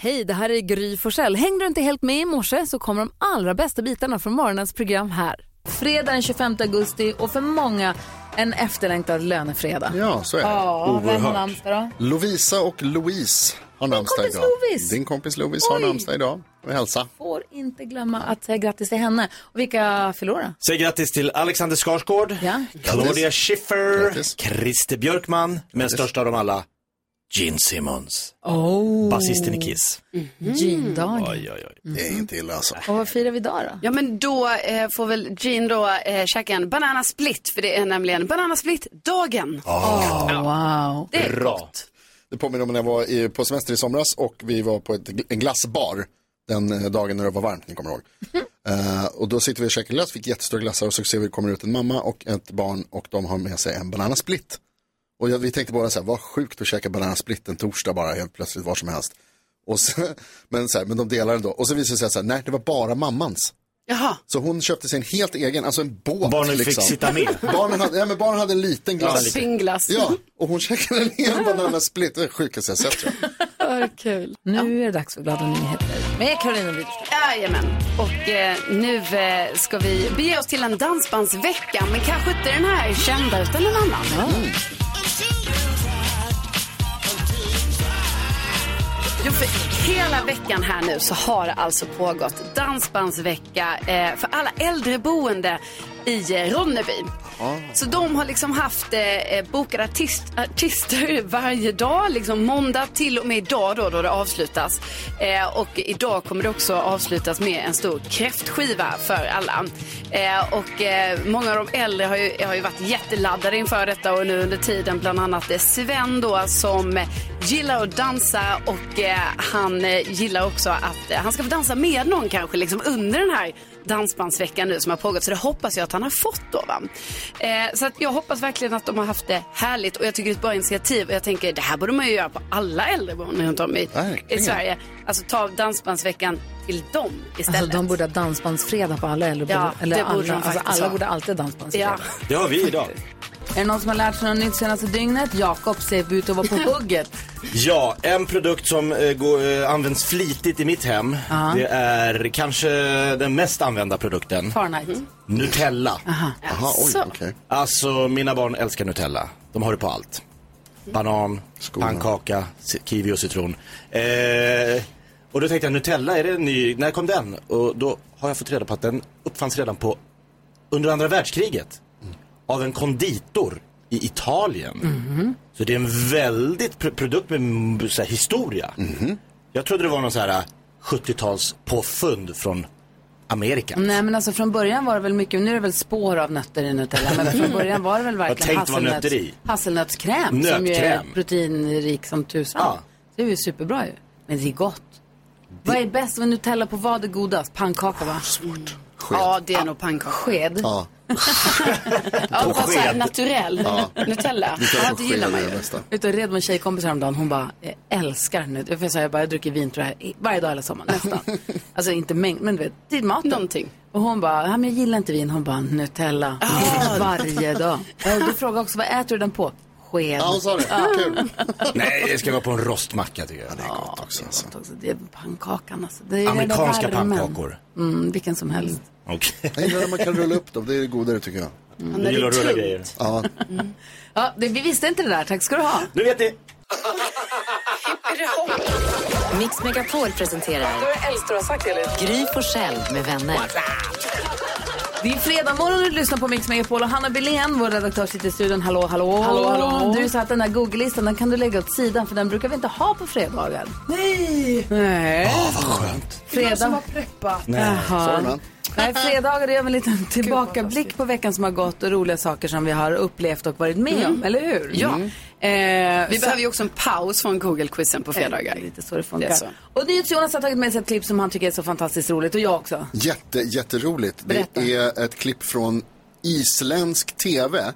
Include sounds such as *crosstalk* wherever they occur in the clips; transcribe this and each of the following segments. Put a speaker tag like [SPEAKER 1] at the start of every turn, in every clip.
[SPEAKER 1] Hej, det här är Gry Forssell. Hängde du inte helt med i morse så kommer de allra bästa bitarna från morgonens program här. Fredag den 25 augusti och för många en efterlängtad lönefredag.
[SPEAKER 2] Ja, så är det.
[SPEAKER 1] Ja, vem har namnsdag då?
[SPEAKER 2] Lovisa och Louise har namnsdag
[SPEAKER 1] kompis
[SPEAKER 2] idag.
[SPEAKER 1] Lovis.
[SPEAKER 2] Din kompis Lovis har
[SPEAKER 1] Oj.
[SPEAKER 2] namnsdag idag. Och hälsa.
[SPEAKER 1] Får inte glömma att säga grattis till henne. Och vilka förlorar?
[SPEAKER 3] Säg grattis till Alexander Skarsgård,
[SPEAKER 1] Ja.
[SPEAKER 3] Claudia
[SPEAKER 2] Grattis.
[SPEAKER 3] Schiffer,
[SPEAKER 2] Grattis.
[SPEAKER 3] Christer Björkman, men störst av dem alla, Gene Simmons,
[SPEAKER 1] Oh. Mm.
[SPEAKER 3] basisten i Kiss.
[SPEAKER 1] Jean-dagen.
[SPEAKER 3] Oj, oj, oj.
[SPEAKER 2] Det är inte illa alltså.
[SPEAKER 1] Och vad firar vi idag då?
[SPEAKER 4] Ja men då eh, får väl Jean då eh, käka en banana split för det är nämligen banana split-dagen.
[SPEAKER 1] Oh, wow.
[SPEAKER 4] Det är
[SPEAKER 3] Bra.
[SPEAKER 2] Det påminner om när jag var i- på semester i somras och vi var på ett, en glassbar den eh, dagen när det var varmt, ni kommer
[SPEAKER 1] *laughs*
[SPEAKER 2] ihåg. Eh, och då sitter vi och käkar glass, fick jättestora glassar och så ser vi kommer ut en mamma och ett barn och de har med sig en banana split. Och jag, vi tänkte bara så här, vad sjukt att käka banana split en torsdag bara helt plötsligt var som helst. Och så, *laughs* men, så här, men de delar den då. Och så visade det sig så här, nej det var bara mammans.
[SPEAKER 4] Jaha,
[SPEAKER 2] Så hon köpte sig en helt egen, alltså en båt.
[SPEAKER 3] Barnen fick
[SPEAKER 2] liksom.
[SPEAKER 3] sitta med.
[SPEAKER 2] Barnen hade, ja, men barnen hade en liten glass.
[SPEAKER 4] singlas.
[SPEAKER 2] Ja, och hon käkade en hel banana split. Det är det sjukaste jag sett tror jag.
[SPEAKER 4] kul.
[SPEAKER 1] Nu är det dags för glada nyheter Alltså, med Karolina Widerström.
[SPEAKER 4] Jajamän. Och eh, nu eh, ska vi bege oss till en dansbandsvecka, men kanske inte den här kända utan en annan. Jo, för hela veckan här nu så har det alltså pågått dansbandsvecka eh, för alla äldreboende i eh, Ronneby. Så de har liksom haft eh, eh, bokade artist, artister *laughs* varje dag, liksom måndag till och med idag då, då det avslutas. Eh, och idag kommer det också avslutas med en stor kräftskiva för alla. Eh, och eh, många av de äldre har ju, har ju varit jätteladdade inför detta och nu under tiden bland annat eh, Sven då som gillar att dansa och eh, han eh, gillar också att eh, han ska få dansa med någon kanske liksom under den här dansbandsveckan nu som har pågått så det hoppas jag att han har fått då va. Eh, så att jag hoppas verkligen att de har haft det härligt och jag tycker det är ett bra initiativ och jag tänker det här borde man ju göra på alla äldreboenden runt om i, i
[SPEAKER 2] Verkligen.
[SPEAKER 4] Sverige. Alltså ta dansbandsveckan till dem istället.
[SPEAKER 1] Alltså, de borde ha dansbandsfredag på alla äldreboenden.
[SPEAKER 4] Ja,
[SPEAKER 1] Eller
[SPEAKER 4] det borde
[SPEAKER 1] alla.
[SPEAKER 4] de
[SPEAKER 1] alltså,
[SPEAKER 4] faktiskt
[SPEAKER 1] alla
[SPEAKER 4] ha.
[SPEAKER 1] borde alltid ha dansbandsfredag.
[SPEAKER 4] ja.
[SPEAKER 3] Det har vi idag.
[SPEAKER 1] Är det någon som har lärt sig något nytt senaste dygnet? Jakob ser ut att *laughs* vara på hugget.
[SPEAKER 3] Ja, en produkt som eh, går, eh, används flitigt i mitt hem, det är kanske den mest använda produkten,
[SPEAKER 1] Fahrenheit.
[SPEAKER 4] Mm.
[SPEAKER 3] Nutella.
[SPEAKER 2] Jaha, oj,
[SPEAKER 4] Så.
[SPEAKER 2] okej.
[SPEAKER 3] Alltså, mina barn älskar Nutella. De har det på allt. Banan,
[SPEAKER 2] Skolan.
[SPEAKER 3] pannkaka, ci- kiwi och citron. Eh, och då tänkte jag, Nutella, är det en ny? När kom den? Och då har jag fått reda på att den uppfanns redan på under andra världskriget av en konditor i Italien.
[SPEAKER 2] Mhm.
[SPEAKER 3] Så det är en väldigt pr- produkt med m- så här, historia.
[SPEAKER 2] Mhm.
[SPEAKER 3] Jag trodde det var någon så här 70-tals påfund från Amerika.
[SPEAKER 1] Nej men alltså från början var det väl mycket, nu är det väl spår av nötter i Nutella, men
[SPEAKER 4] *laughs*
[SPEAKER 1] från början var det väl verkligen
[SPEAKER 3] Jag tänkte vad nötter i.
[SPEAKER 1] hasselnötskräm som ju är
[SPEAKER 3] Nötkräm.
[SPEAKER 1] proteinrik som tusan.
[SPEAKER 3] Ja.
[SPEAKER 1] Det är ju superbra ju. Men det är gott. Vad är bäst med Nutella på vad är godast? Pannkaka va?
[SPEAKER 4] ja, det är nog pannkaka.
[SPEAKER 1] Sked?
[SPEAKER 2] Ja,
[SPEAKER 4] Ja, det var så här
[SPEAKER 3] sked.
[SPEAKER 4] naturell Nutella.
[SPEAKER 2] det är
[SPEAKER 4] Ja, det
[SPEAKER 2] kanske
[SPEAKER 4] gillar
[SPEAKER 2] sker
[SPEAKER 4] man
[SPEAKER 2] det
[SPEAKER 4] ju.
[SPEAKER 2] bästa.
[SPEAKER 1] Ute och red med en tjejkompis häromdagen, hon bara eh, älskar Nutella. Jag får säga, jag bara, jag dricker vin tror jag, i- varje dag hela sommaren nästan.
[SPEAKER 3] *laughs*
[SPEAKER 1] alltså inte mängd, men du vet, till maten.
[SPEAKER 4] Någonting.
[SPEAKER 1] Och hon bara, ja, men jag gillar inte vin. Hon bara, Nutella. Varje dag. Eh, Du frågade också, vad äter du den på? Sked.
[SPEAKER 3] Alltså.
[SPEAKER 2] Ja, hon sa det. Kul.
[SPEAKER 3] Nej, det ska vara på en rostmacka tycker jag.
[SPEAKER 2] Gott också, alltså.
[SPEAKER 1] Också, det är pannkakan alltså. Det är den
[SPEAKER 3] Amerikanska
[SPEAKER 1] där värmen.
[SPEAKER 3] pannkakor.
[SPEAKER 1] Mm, vilken som helst.
[SPEAKER 3] *laughs* Okej.
[SPEAKER 2] Jag gillar när man kan rulla upp dem. Det är godare tycker jag.
[SPEAKER 3] Du gillar att rulla grejer.
[SPEAKER 2] Ja,
[SPEAKER 1] Ja, det, vi visste inte det där. Tack ska du ha.
[SPEAKER 3] Nu vet ni.
[SPEAKER 5] Mix Megapol presenterar Gry Forssell med vänner.
[SPEAKER 1] Det är fredag morgon och du lyssnar på Mix Megapol och Hanna Billén, vår redaktör, sitter i studion. Hallå, hallå. hallå, hallå. Du sa att den där Google-listan den kan du lägga åt sidan för den brukar vi inte ha på fredagar. Nej! Nej.
[SPEAKER 3] Åh, vad skönt.
[SPEAKER 1] Fredag.
[SPEAKER 3] Nej.
[SPEAKER 2] sorry man.
[SPEAKER 1] Nej, fredagar det gör vi en liten tillbakablick på veckan som har gått och roliga saker som vi har upplevt och varit med om, eller hur? Ja. Eh,
[SPEAKER 4] Mm. Vi
[SPEAKER 1] så-
[SPEAKER 4] behöver ju också en paus från Google-quizen på fredagar.
[SPEAKER 1] Det är lite så det funkar.
[SPEAKER 4] Det är så.
[SPEAKER 1] Och NyhetsJonas har tagit med sig ett klipp som han tycker är så fantastiskt roligt och jag också.
[SPEAKER 2] Jätte, jätteroligt.
[SPEAKER 1] Berätta.
[SPEAKER 2] Det är ett klipp från isländsk tv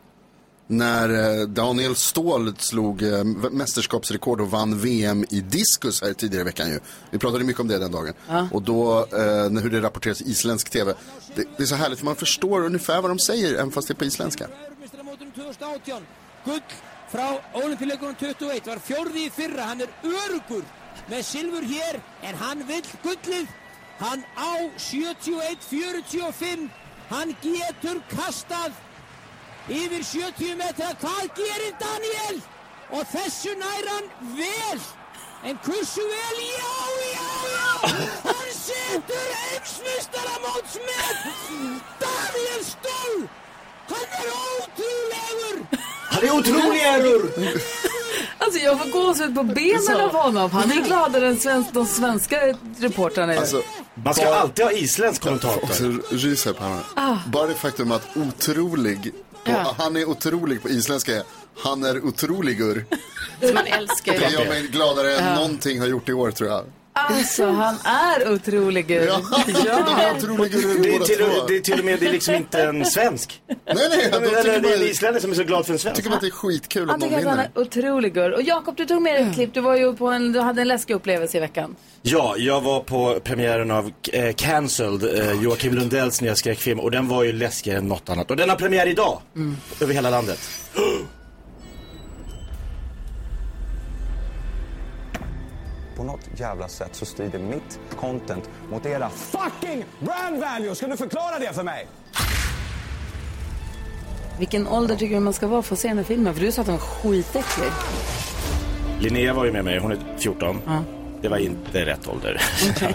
[SPEAKER 2] när eh, Daniel Ståhl slog eh, mästerskapsrekord och vann VM i diskus här tidigare i veckan ju. Vi pratade mycket om det den dagen. Och då, eh, när- hur det rapporteras i isländsk tv. Det, det är så härligt för man förstår ungefär vad de säger även fast det är på isländska.
[SPEAKER 6] Evrópumeistaramótinu 2018 gull frá Ólympíuleikunum 21 var fjórði í fyrra, hann er örugur með silfur hér en hann vill gullið hann á 71-45 hann getur kastað yfir 70 metra hvað gerir Daniel og þessu nær hann vel en hversu vel já, já, já hann setur heimsmystaramótsmet Daniel Stól hann er ótrúlegur
[SPEAKER 3] Han är otrolig error!
[SPEAKER 1] Alltså jag får gåshud på benen av honom. Han är gladare än svensk, de svenska reportrarna är.
[SPEAKER 2] Alltså,
[SPEAKER 3] Man ska alltid ha isländsk kommentator.
[SPEAKER 2] Också ryser på henne. Bara det faktum att otrolig, på,
[SPEAKER 4] Ja.
[SPEAKER 2] han är otrolig på isländska är han är otroligur.
[SPEAKER 4] Som man älskar
[SPEAKER 2] Det
[SPEAKER 4] ju.
[SPEAKER 2] gör mig gladare än någonting har gjort i år tror jag.
[SPEAKER 1] Alltså han är otrolig gud.
[SPEAKER 2] Ja, de är otroligur
[SPEAKER 3] Det är,
[SPEAKER 2] båda
[SPEAKER 3] till,
[SPEAKER 2] två.
[SPEAKER 3] det är till och med, det är liksom inte en svensk.
[SPEAKER 2] Nej, nej,
[SPEAKER 3] Eller
[SPEAKER 2] de tycker
[SPEAKER 3] det är en
[SPEAKER 2] bara,
[SPEAKER 3] islänning som är så glad för en svensk.
[SPEAKER 2] tycker bara att det är skitkul om
[SPEAKER 1] Han
[SPEAKER 2] de
[SPEAKER 1] tycker att han är
[SPEAKER 2] vinner.
[SPEAKER 1] otrolig gud. Och Jakob, du tog med dig ett klipp. Du, var ju på en, du hade en läskig upplevelse i veckan.
[SPEAKER 3] Ja, jag var på premiären av eh, Cancelled, eh, Joakim Lundells nya skräckfilm och den var ju läskigare än något annat. Och den har premiär idag, över hela landet.
[SPEAKER 7] På något jävla sätt så strider mitt content mot era
[SPEAKER 6] fucking brand value ska du förklara det för mig
[SPEAKER 1] Vilken ålder tycker du man ska vara för att se den här filmen? För du sa att den var skitäcklig.
[SPEAKER 3] Linnea var ju med mig, hon är 14. Det var inte rätt ålder,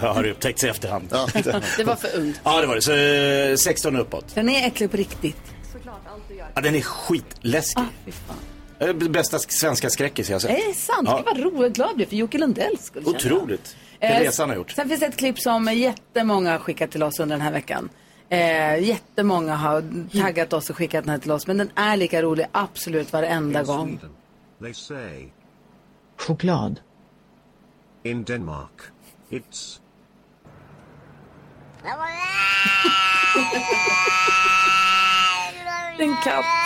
[SPEAKER 3] *laughs* har det upptäckts i efterhand. Ja.
[SPEAKER 4] Det var för ungt.
[SPEAKER 3] det var det. Så eh, 16 uppåt.
[SPEAKER 1] Den är äcklig på riktigt.
[SPEAKER 3] Ja, den är skitläskig.
[SPEAKER 1] Ah, Fy fan.
[SPEAKER 3] Det är den Bästa sk- svenska skräckis jag har sett.
[SPEAKER 1] Är det sant?
[SPEAKER 3] Ja.
[SPEAKER 1] Gud vad roligt glad jag blev för Jocke Lundells skull. känner jag.
[SPEAKER 3] Otroligt. Den
[SPEAKER 1] Eh,
[SPEAKER 3] resan har gjort.
[SPEAKER 1] Sen finns det ett klipp som jättemånga har skickat till oss under den här veckan. Eh, jättemånga har taggat oss och skickat den här till oss. Men den är lika rolig absolut varenda gång.
[SPEAKER 8] They say
[SPEAKER 9] Choklad.
[SPEAKER 8] in Denmark, it's
[SPEAKER 1] En katt.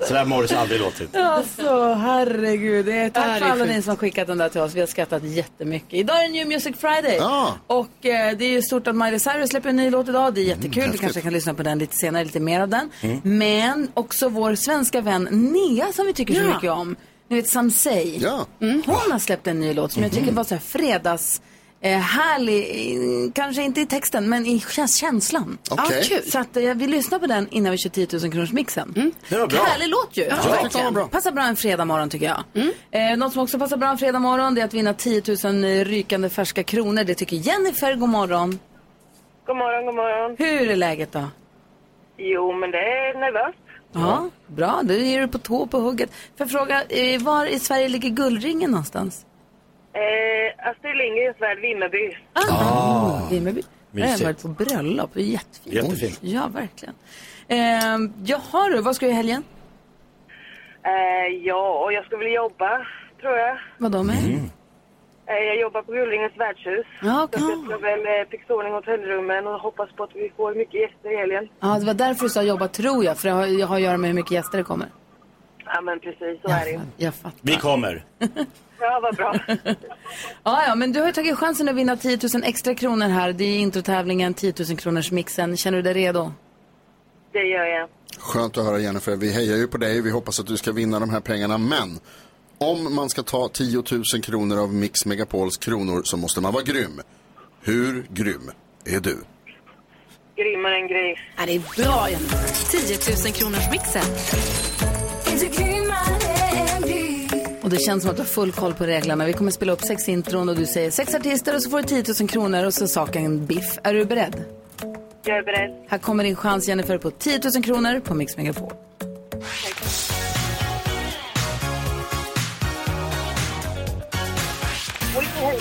[SPEAKER 3] Så där har Morris aldrig låtit.
[SPEAKER 1] Alltså herregud. Det är,
[SPEAKER 4] Det här
[SPEAKER 1] tack
[SPEAKER 4] är
[SPEAKER 1] för alla
[SPEAKER 4] sjukt.
[SPEAKER 1] ni som har skickat den där till oss. Vi har skrattat jättemycket. Idag är det New Music Friday.
[SPEAKER 2] Ja.
[SPEAKER 1] Och eh, det är ju stort att Miley Cyrus släpper en ny låt idag.
[SPEAKER 3] Mm,
[SPEAKER 1] Det är jättekul. du kanske kan lyssna på den lite senare, lite mer av den. Men också vår svenska vän Nea som vi tycker så mycket om. Ni vet Samsei.
[SPEAKER 2] Ja.
[SPEAKER 1] Mm. Hon har släppt en ny låt som jag
[SPEAKER 2] Mhm.
[SPEAKER 1] tycker var så här fredags... Eh, härlig, eh, kanske inte i texten men i käns- känslan.
[SPEAKER 2] Okej.
[SPEAKER 4] kul.
[SPEAKER 1] Så att, eh, vi lyssnar på den innan vi kör 10 000 kronors mixen.
[SPEAKER 2] Mm.
[SPEAKER 3] Det var bra.
[SPEAKER 1] Härlig låt ju.
[SPEAKER 2] det var
[SPEAKER 1] verkligen.
[SPEAKER 2] bra. Mm.
[SPEAKER 1] Passar bra en fredag morgon tycker jag. Eh, något som också passar bra en fredag morgon det är att vinna 10 000 rykande färska kronor. Det tycker Jennifer. God morgon.
[SPEAKER 10] God morgon, god morgon.
[SPEAKER 1] Hur är läget då?
[SPEAKER 10] Jo, men det är nervöst.
[SPEAKER 1] Ja, bra. Du är du på tå på hugget. För fråga, eh, var i Sverige ligger guldringen någonstans?
[SPEAKER 10] Eh, Astrid Lindgrens värld, Vimmerby.
[SPEAKER 1] Ah, Vimmerby. Jag har
[SPEAKER 3] mysigt.
[SPEAKER 1] varit på bröllop. Det är jättefint.
[SPEAKER 3] Jättefint.
[SPEAKER 1] Ja, verkligen. Eh, jaha du, vad ska du i helgen?
[SPEAKER 10] Eh, ja, och jag ska väl jobba, tror jag.
[SPEAKER 1] Vadå med?
[SPEAKER 10] Eh, jag jobbar på Gullringens värdshus.
[SPEAKER 1] Ja, okej.
[SPEAKER 10] Så jag ska väl eh, fixa ordning hotellrummen och hoppas på att vi får mycket gäster i helgen.
[SPEAKER 1] Ja, det var därför du sa jobba tror jag. För jag har, jag har att göra med hur mycket gäster det kommer.
[SPEAKER 10] Ja, men precis, så är det ju.
[SPEAKER 1] Jag fattar. *laughs*
[SPEAKER 3] Vi kommer.
[SPEAKER 10] Ja, vad bra.
[SPEAKER 1] Ja, ja, men du har ju tagit chansen att vinna 10 000 extra kronor här. Det är introtävlingen 10 000 kronors mixen. Känner du dig redo?
[SPEAKER 10] Det gör jag.
[SPEAKER 2] Skönt att höra Jennifer. Vi hejar ju på dig. Vi hoppas att du ska vinna de här pengarna. Men om man ska ta 10 000 kronor av Mix Megapols kronor så måste man vara grym. Hur grym är du?
[SPEAKER 10] Grymmare än gris.
[SPEAKER 4] Ja, det är bra Jennifer.
[SPEAKER 5] 10 000 kronors mixen.
[SPEAKER 1] Och det känns som att du har full koll på reglerna. Vi kommer spela upp sex intron och du säger sex artister och så får du 10 000 kronor och så är saken biff. Är du beredd?
[SPEAKER 10] Jag är beredd.
[SPEAKER 1] Här kommer din chans Jennifer på 10 000 kronor på Mix Megapol.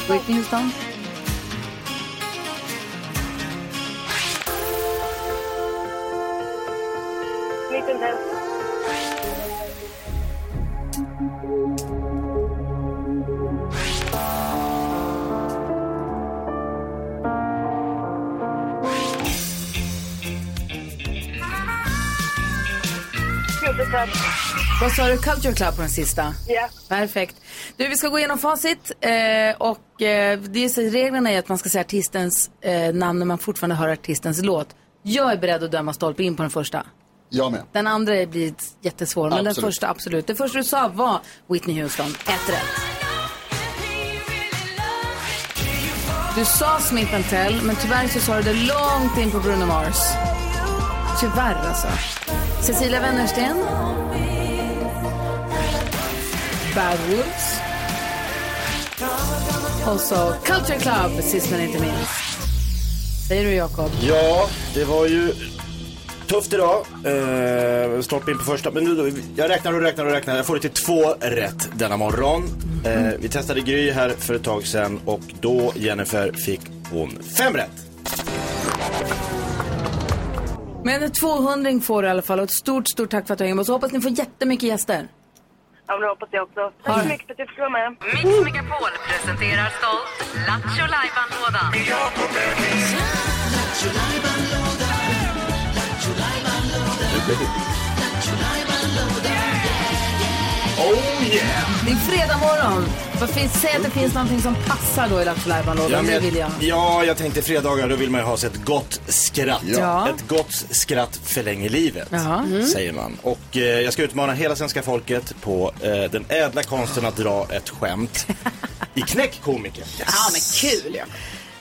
[SPEAKER 1] Whitney Houston.
[SPEAKER 10] Liten häst. Superklapp.
[SPEAKER 1] Vad sa du? Culture Club på den sista?
[SPEAKER 10] Ja.
[SPEAKER 1] Perfekt. Du, vi ska gå igenom facit. Eh, och eh, det är, så- reglerna är att man ska säga artistens eh, namn när man fortfarande hör artistens låt. Jag är beredd att döma stolpe in på den första.
[SPEAKER 2] Jag med.
[SPEAKER 1] Den andra blir jättesvår, men den
[SPEAKER 2] Absolut.
[SPEAKER 1] första absolut. Det första du sa var Whitney Houston. Ett rätt. Du sa Smith Tell, men tyvärr så sa du det långt in på Bruno Mars. Tyvärr alltså. Cecilia Wennersten. Bad Wolves. Och så Culture Club, sist men inte minst. Säger du Jakob?
[SPEAKER 3] Ja, det var ju tufft idag. Eh, snart in på första. Men nu, då, jag räknar och räknar och räknar. Jag får det till två rätt denna morgon. Eh, vi testade Gry här för ett tag sedan och då, Jennifer, fick hon fem rätt.
[SPEAKER 1] Men en 200 får du i alla fall och ett stort, stort tack för att du hänger med oss. Hoppas ni får jättemycket gäster.
[SPEAKER 10] Ja, men det hoppas jag också. Tack så mycket för att jag fick vara med.
[SPEAKER 5] Mix Megapol presenterar stolt Lattjo Lajban-lådan.
[SPEAKER 3] Oh yeah!
[SPEAKER 1] Det är fredag morgon. Vad finns, säg att det finns någonting som passar då i Lattjo Lajban-lådan. Det vill jag.
[SPEAKER 3] ja, jag tänkte fredagar, då vill man ju ha sig ett gott skratt.
[SPEAKER 1] Ja.
[SPEAKER 3] Ett gott skratt förlänger livet,
[SPEAKER 1] Jaha. Mm.
[SPEAKER 3] säger man. Och eh, jag ska utmana hela svenska folket på eh, den ädla konsten att dra ett skämt i knäckkomiker.
[SPEAKER 4] Ja, men kul ja.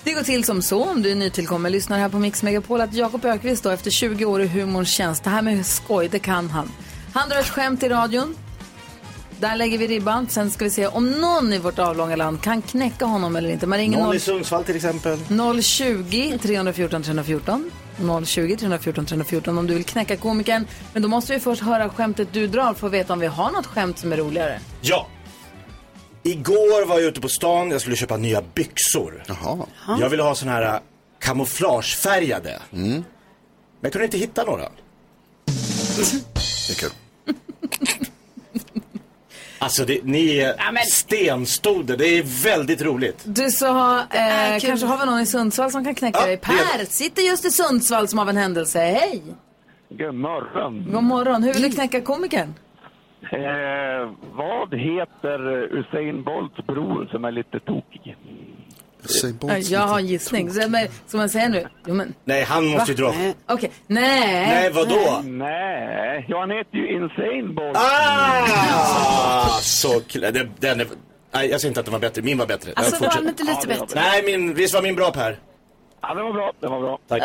[SPEAKER 1] Det går till som så om du är nytillkommen lyssnare här på Mix Megapol att Jakob Ökvist då efter 20 år i humorns tjänst, det här med skoj, det kan han. Han drar ett skämt i radion. Där lägger vi ribban. Sen ska vi se om någon i vårt avlånga land kan knäcka honom eller inte. Man ringer
[SPEAKER 3] Någon
[SPEAKER 1] noll-
[SPEAKER 3] i Sundsvall till exempel.
[SPEAKER 1] 020 314 314. 020 314 314 om du vill knäcka komikern. Men då måste vi först höra skämtet du drar för att veta om vi har något skämt som är roligare.
[SPEAKER 3] Ja. Igår var jag ute på stan, jag skulle köpa nya byxor. Jag ville ha sådana här äh, kamouflagefärgade. Mm. Men jag kunde inte hitta några.
[SPEAKER 2] Det är kul.
[SPEAKER 3] Alltså det, ni är stenstoder, det är väldigt roligt.
[SPEAKER 1] Du sa, eh,
[SPEAKER 4] kul.
[SPEAKER 1] kanske har vi någon i Sundsvall som kan knäcka
[SPEAKER 3] Ja,
[SPEAKER 1] dig.
[SPEAKER 3] det är
[SPEAKER 1] Per sitter just i Sundsvall som av en händelse. Hej!
[SPEAKER 11] God morgon.
[SPEAKER 1] God morgon. Hur vill du knäcka komikern?
[SPEAKER 11] Eh, vad heter Usain Bolts bror som är lite tokig?
[SPEAKER 2] Usain
[SPEAKER 1] Eh, Jag har en gissning. Så, men, ska man säga nu? Jo, men,
[SPEAKER 3] Nej, han måste ju dra.
[SPEAKER 1] Okej. Nej. Alltså,
[SPEAKER 3] Nej, vadå?
[SPEAKER 11] Nej, ja, han heter ju Insane Bolt.
[SPEAKER 3] Ah, så kul. Den, den är, nej, jag säger inte att den var bättre, min var bättre.
[SPEAKER 4] Alltså,
[SPEAKER 3] Jag
[SPEAKER 4] var
[SPEAKER 3] fortsätter.
[SPEAKER 4] den inte lite bättre?
[SPEAKER 3] Nej, min, visst var min bra Per?
[SPEAKER 11] Ja, det var bra, det var bra.
[SPEAKER 3] Tack.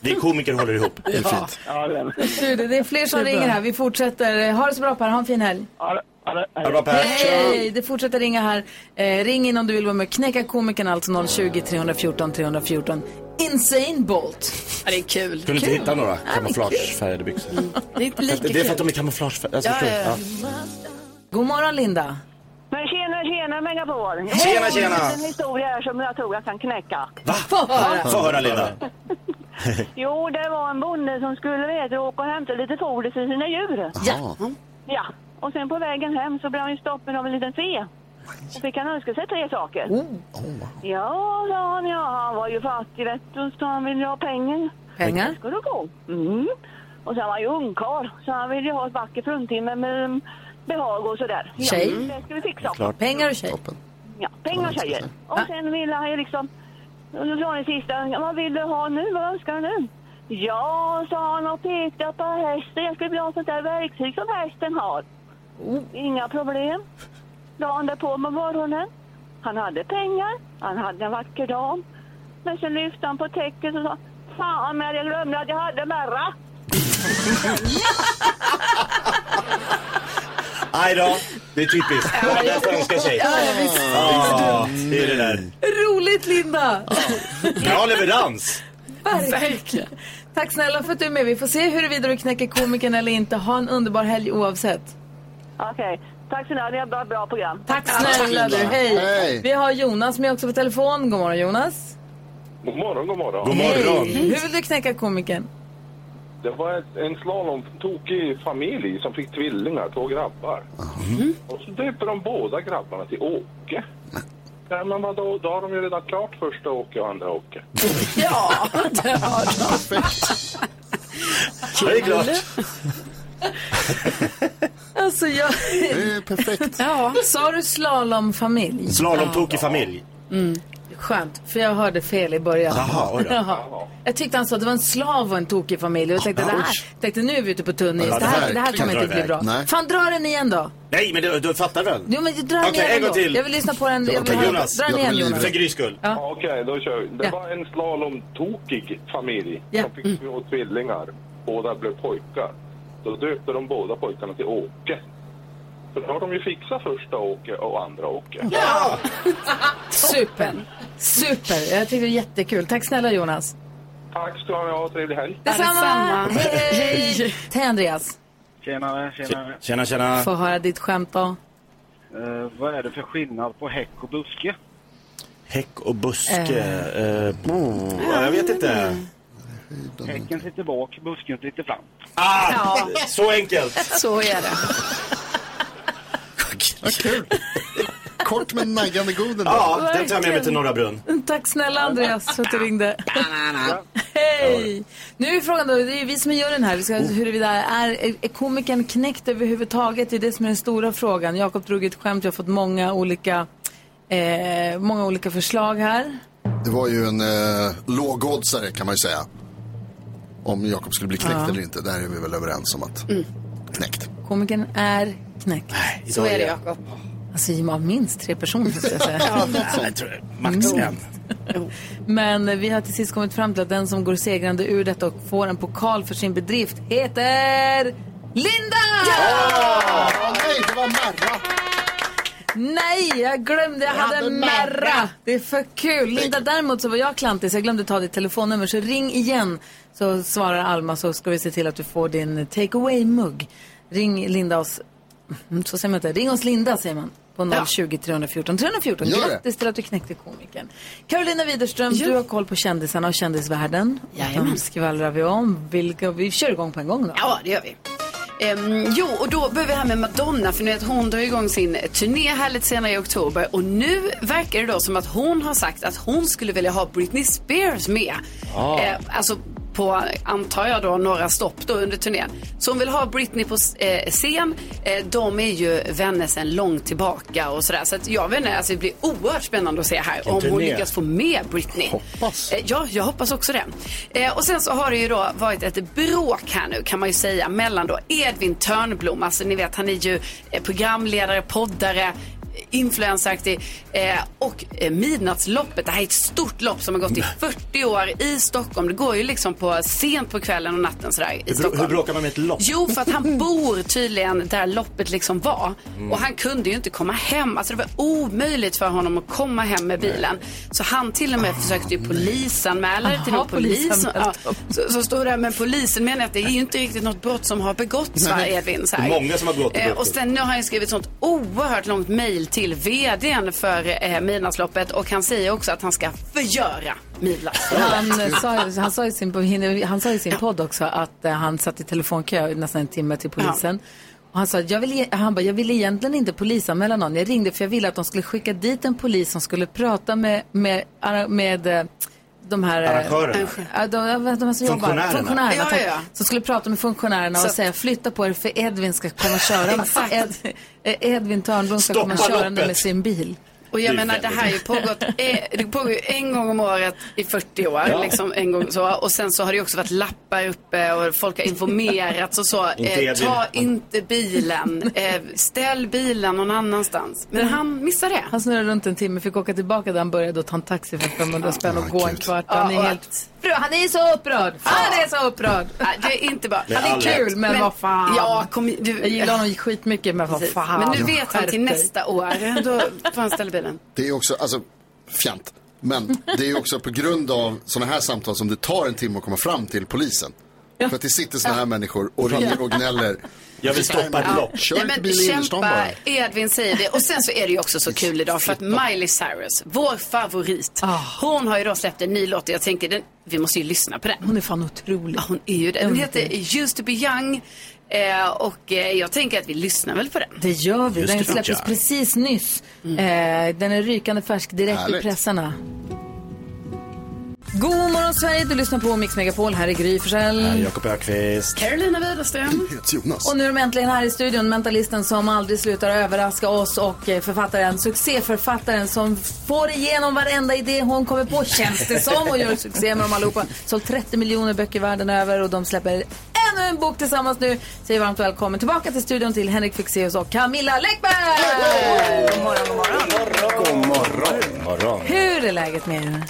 [SPEAKER 3] Vi komiker håller ihop.
[SPEAKER 2] Det är fint.
[SPEAKER 11] Ja, det,
[SPEAKER 1] Du, det det är fler som ringer här. Vi fortsätter. Ha det så bra Per. Ha en fin helg.
[SPEAKER 11] ja, det, ja, det,
[SPEAKER 3] Ha det bra Per.
[SPEAKER 1] Hej! Det fortsätter ringa här. Eh, ring in om du vill vara med och knäcka komikern alltså 020 314 314. Insane Bolt.
[SPEAKER 4] ja det är kul.
[SPEAKER 3] Kunde inte
[SPEAKER 1] Kul.
[SPEAKER 3] hitta några
[SPEAKER 1] men
[SPEAKER 3] kamouflagefärgade byxor.
[SPEAKER 4] Det är inte lika
[SPEAKER 3] Alltså, Det är för att
[SPEAKER 4] kul.
[SPEAKER 3] de är kamouflagefärgade. Alltså,
[SPEAKER 4] Ja,
[SPEAKER 3] förstår du?
[SPEAKER 4] ja, ja.
[SPEAKER 1] God morgon Linda.
[SPEAKER 10] Men tjena, tjena Megapol.
[SPEAKER 3] Tjena, tjena.
[SPEAKER 10] Jag har en historia här som jag tror jag kan knäcka.
[SPEAKER 3] Va? Få höra. Få höra Linda.
[SPEAKER 10] Jo, det var en bonde som skulle vet, du, åka och hämta lite foder till sina djur.
[SPEAKER 2] Jaha.
[SPEAKER 10] Ja. Och sen på vägen hem så blev han ju stoppen av en liten fe. Och fick han önska sig tre saker. Ja, sa han, ja, han var ju fattig vet du, så han ville ju ha pengar.
[SPEAKER 1] Pengar?
[SPEAKER 10] Ska du gå? Mm. Och sen var han ju ungkarl, så han ville ju ha ett vackert fruntimmer med mm, behag och sådär. Ja,
[SPEAKER 1] Tjej?
[SPEAKER 10] Det ska vi fixa.
[SPEAKER 1] Pengar och tjej.
[SPEAKER 2] Toppen.
[SPEAKER 10] Ja, pengar tjejer. Och
[SPEAKER 1] Va?
[SPEAKER 10] sen ville han ju liksom... Och så sa den sista, vad vill du ha nu? Vad önskar du nu? Ja, sa han och pekade på hästen. Jag skulle vilja ha sånt där verktyg som hästen har. Inga problem. La han det på med morgonen. Han hade pengar. Han hade en vacker dag. Men så lyfte han på täcket och sa, fan men jag glömde att jag hade märra.
[SPEAKER 3] Aj då. Det är typiskt. Vad man bäst önskar sig. Ja, det är det där.
[SPEAKER 1] Roligt Linda!
[SPEAKER 3] Bra leverans.
[SPEAKER 1] Verkligen. Tack snälla för att du är med. Vi får se huruvida du knäcker komikern eller inte. Ha en underbar helg oavsett.
[SPEAKER 10] Okej, tack så mycket. Ni har ett bra- bra program.
[SPEAKER 1] Tack snälla du. Hej.
[SPEAKER 2] Hej.
[SPEAKER 1] Vi har Jonas med också på telefon. God morgon Jonas.
[SPEAKER 11] God morgon, god morgon.
[SPEAKER 3] God morgon.
[SPEAKER 1] Hej. Hur vill du knäcka komikern?
[SPEAKER 11] Det var ett, en slalomtokig familj som fick tvillingar, två grabbar. Och så döper de båda grabbarna till Åke. Nej, men vadå, då har de ju redan klart första Åke och andra Åke.
[SPEAKER 4] Ja, det har de.
[SPEAKER 3] Det är klart.
[SPEAKER 1] Alltså jag...
[SPEAKER 2] *laughs* Det är perfekt.
[SPEAKER 4] Ja.
[SPEAKER 1] Sa du slalomfamilj?
[SPEAKER 3] Slalomtokig familj.
[SPEAKER 1] Skönt, för jag hörde fel i början.
[SPEAKER 3] Jaha, oj då.
[SPEAKER 1] *laughs* Jaha. Jag tyckte han sa att det var en slav och en tokig familj. Och jag tänkte, det här, tänkte nu är vi ute på tunn is.
[SPEAKER 3] Ja,
[SPEAKER 1] det, här,
[SPEAKER 3] verkligen.
[SPEAKER 1] det här kommer inte
[SPEAKER 3] Dra
[SPEAKER 1] bli
[SPEAKER 3] iväg.
[SPEAKER 1] bra.
[SPEAKER 3] Nej.
[SPEAKER 1] Fan, dra den igen då.
[SPEAKER 3] Nej, men du, du fattar väl?
[SPEAKER 1] Jo, men dra den
[SPEAKER 3] Okej,
[SPEAKER 1] igen
[SPEAKER 3] en gång
[SPEAKER 1] då.
[SPEAKER 3] till.
[SPEAKER 1] Jag vill lyssna på den. Jag vill
[SPEAKER 3] Okej,
[SPEAKER 1] höra-
[SPEAKER 3] Jonas.
[SPEAKER 1] Dra den igen Jonas.
[SPEAKER 3] För Grys skull.
[SPEAKER 11] Ja. Okej, då kör vi. Det
[SPEAKER 1] Ja.
[SPEAKER 11] var en slalomtokig familj
[SPEAKER 1] Ja. Mm.
[SPEAKER 11] som fick två tvillingar. Båda blev pojkar. Då döpte de båda pojkarna till Åke. För då har de ju fixat första Åke och andra Åke.
[SPEAKER 1] Super. Super. Jag tyckte det var jättekul. Tack snälla Jonas.
[SPEAKER 11] Tack ska ni ha. Trevlig helg.
[SPEAKER 1] Detsamma. Hej. Hej Andreas.
[SPEAKER 12] Tjenare, tjenare.
[SPEAKER 3] Tjena, tjena.
[SPEAKER 1] Få höra ditt skämt då.
[SPEAKER 12] Eh, vad är det för skillnad på häck och buske?
[SPEAKER 3] Häck och buske. Eh, bo- jag vet inte. Mm.
[SPEAKER 12] Häcken sitter bak, busken sitter fram.
[SPEAKER 3] Ah,
[SPEAKER 12] Ja.
[SPEAKER 3] Så enkelt.
[SPEAKER 4] Så är det.
[SPEAKER 2] Ja, kul. Kort men naggande god ändå.
[SPEAKER 3] Ja, den tar jag med mig till Norra Brunn.
[SPEAKER 1] Tack snälla Andreas för att du ringde. Hej! Nu är frågan då, det är ju vi som gör den här. Vi ska huruvida är, är komikern knäckt överhuvudtaget? Det är det som är den stora frågan. Jakob drog ett skämt, jag har fått många olika, eh, många olika förslag här.
[SPEAKER 2] Det var ju en eh, lågoddsare kan man ju säga. Om Jakob skulle bli knäckt
[SPEAKER 1] Ja.
[SPEAKER 2] eller inte. Där är vi väl överens om att knäckt.
[SPEAKER 1] Komikern är knäckt.
[SPEAKER 2] Så idag är det, är-
[SPEAKER 4] Jakob.
[SPEAKER 1] Alltså av minst tre personer skulle jag säga.
[SPEAKER 3] Ja, jag tror det. Max
[SPEAKER 1] Mm.
[SPEAKER 3] en.
[SPEAKER 1] Men vi har till sist kommit fram till att den som går segrande ur detta och får en pokal för sin bedrift heter Linda!
[SPEAKER 2] nej, det var Merra.
[SPEAKER 1] Nej, jag glömde. Jag hade en Merra. Det är för kul. Linda, däremot så var jag klantig så jag glömde ta ditt telefonnummer. Så ring igen så svarar Alma så ska vi se till att du får din take away-mugg. Ring Linda oss. Mm, Så säger man inte. Ring oss Linda säger man. På 020 314 314.
[SPEAKER 4] Gör det.
[SPEAKER 1] Grattis till att du knäckte komikern. Carolina Widerström,
[SPEAKER 4] Ja.
[SPEAKER 1] du har koll på kändisarna och kändisvärlden.
[SPEAKER 4] Jajamän.
[SPEAKER 1] De skvallrar vi om. Vilka, vi kör igång på en gång då.
[SPEAKER 4] Ja, det gör vi. Ehm, jo, och då börjar vi här med Madonna, för nu vet hon drar igång sin turné här lite senare i oktober. Och nu verkar det då som att hon har sagt att hon skulle vilja ha Britney Spears med.
[SPEAKER 13] Ah.
[SPEAKER 4] Eh, alltså på, antar jag då, några stopp då under turnén. Så hon vill ha Britney på eh, scen. Eh, de är ju vänner sedan långt tillbaka och sådär. Så att jag vet inte, alltså det blir oerhört spännande att se här
[SPEAKER 13] Vilken
[SPEAKER 4] om hon
[SPEAKER 13] turné.
[SPEAKER 4] lyckas få med Britney. Hoppas. Ja, jag hoppas också det. Eh, Och sen så har det ju då varit ett bråk här nu kan man ju säga mellan då Edvin Törnblom, alltså ni vet han är ju eh, programledare, poddare, eh, influenceraktig eh, och eh, Midnattsloppet. Det här är ett stort lopp som har gått i 40 år i Stockholm. Det går ju liksom på sent på kvällen och natten sådär i
[SPEAKER 3] Hur, bro-
[SPEAKER 4] Stockholm.
[SPEAKER 3] hur bråkar man med ett lopp?
[SPEAKER 4] Jo, för
[SPEAKER 3] *laughs*
[SPEAKER 4] att han bor tydligen där loppet liksom var.
[SPEAKER 3] Mm.
[SPEAKER 4] Och han kunde ju inte komma hem. Alltså det var omöjligt för honom att komma hem med bilen. Så han till
[SPEAKER 3] Ah,
[SPEAKER 4] och med försökte ju polisanmäla det till
[SPEAKER 1] Aha,
[SPEAKER 4] någon polis. Som, ja,
[SPEAKER 1] polisanmält dem.
[SPEAKER 4] så, så står det här, men polisen menar att det är ju inte riktigt något brott som har begåtts va,
[SPEAKER 3] Nej.
[SPEAKER 4] Edvin? Så här.
[SPEAKER 3] Det är många som har begått det
[SPEAKER 4] Eh,
[SPEAKER 3] brottet.
[SPEAKER 4] Och sen nu har han ju skrivit sånt oerhört långt mejl till vdn för eh, Midnattsloppet och han säger också att han ska förgöra Midnattsloppet.
[SPEAKER 1] Han, eh, sa, ju- han, sa i sin, han sa i sin podd också att eh, han satt i telefonkö i nästan en timme till polisen. Och han sa, jag vill, e- han bara, jag ville egentligen inte polisanmäla någon. Jag ringde för jag ville att de skulle skicka dit en polis som skulle prata med, med, ara- med eh, de här... eh,
[SPEAKER 13] Arrangörerna.
[SPEAKER 1] Ja, de, de, de, de som jobbar.
[SPEAKER 13] Funktionärerna.
[SPEAKER 1] Funktionärerna.
[SPEAKER 13] Ja,
[SPEAKER 1] tack.
[SPEAKER 13] ja, ja.
[SPEAKER 1] Som skulle prata med funktionärerna
[SPEAKER 13] Så
[SPEAKER 1] och
[SPEAKER 13] att-
[SPEAKER 1] säga, flytta på er för Edvin ska komma
[SPEAKER 13] *laughs*
[SPEAKER 1] och köra. Ed, eh, Edvin Törnblom ska komma
[SPEAKER 4] Stoppa
[SPEAKER 1] körande
[SPEAKER 4] loppet.
[SPEAKER 1] med sin bil.
[SPEAKER 4] Och jag menar, det här har ju pågått eh, det pågår ju en gång om året i 40 år.
[SPEAKER 1] Ja.
[SPEAKER 4] Liksom en gång så. Och sen så har det ju också varit lappar uppe och folk har informerats och så. Eh,
[SPEAKER 13] Inte Edvin.
[SPEAKER 4] ta inte bilen. Eh, ställ bilen någon annanstans. Men han missade det.
[SPEAKER 1] Mm. Han snurrade runt en timme, fick åka tillbaka där han började och ta en taxi för 500 spänn och gå en kvart. Han
[SPEAKER 4] Ja,
[SPEAKER 1] är
[SPEAKER 4] och-
[SPEAKER 1] helt... Bro, Han är så upprörd! Han är så upprörd!
[SPEAKER 4] Nej, Det är inte bra.
[SPEAKER 1] Han är kul, men, vad fan.
[SPEAKER 4] Ja, kom, i- du,
[SPEAKER 1] Jag gillar honom skitmycket, men vad
[SPEAKER 4] Precis.
[SPEAKER 1] fan.
[SPEAKER 4] Men nu vet han
[SPEAKER 1] Skärp
[SPEAKER 4] till
[SPEAKER 1] dig.
[SPEAKER 4] nästa år. Då får han ställa bilen.
[SPEAKER 2] Det är också, alltså, fjant. Men det är ju också på grund av sådana här samtal som det tar en timme att komma fram till polisen. För att det sitter sådana här människor och ringer och gnäller.
[SPEAKER 3] Jag vill stoppa ett
[SPEAKER 2] Ja.
[SPEAKER 3] lopp.
[SPEAKER 2] Kör
[SPEAKER 4] Nej,
[SPEAKER 2] inte
[SPEAKER 4] men
[SPEAKER 2] bilen i
[SPEAKER 4] kämpa,
[SPEAKER 2] innerstan bara.
[SPEAKER 4] Edvin säger det. Och sen så är det ju också så kul idag för att Miley Cyrus, vår favorit,
[SPEAKER 13] Ah.
[SPEAKER 4] hon har ju då släppt en ny låt och jag tänker den, vi måste ju lyssna på den.
[SPEAKER 1] Hon är fan otrolig. Ja,
[SPEAKER 4] hon är ju det. Den heter Used to be young eh, och eh, jag tänker att vi lyssnar väl på den.
[SPEAKER 1] Det gör vi.
[SPEAKER 4] Just
[SPEAKER 1] Den
[SPEAKER 4] det,
[SPEAKER 1] släpptes
[SPEAKER 4] ja.
[SPEAKER 1] precis Mm. nyss. Eh, den är rykande färsk direkt i
[SPEAKER 4] Härligt.
[SPEAKER 1] pressarna. God morgon Sverige, du lyssnar på Mix Megapol. Här är Gry
[SPEAKER 3] Här är
[SPEAKER 1] Forssell.
[SPEAKER 3] Jakob Ökvist.
[SPEAKER 4] Carolina Widerström.
[SPEAKER 2] Jonas.
[SPEAKER 1] Och nu är de äntligen här i studion, mentalisten som aldrig slutar överraska oss och eh, författaren, succéförfattaren som får igenom varenda idé hon kommer på känns det som och gör succé med dem allihopa. Sålt 30 miljoner böcker världen över och de släpper ännu en bok tillsammans nu. Säger varmt välkommen tillbaka till studion till Henrik Fexeus och Camilla Läckberg! God morgon, god morgon.
[SPEAKER 13] God morgon.
[SPEAKER 3] morgon.
[SPEAKER 1] Hur är läget med er?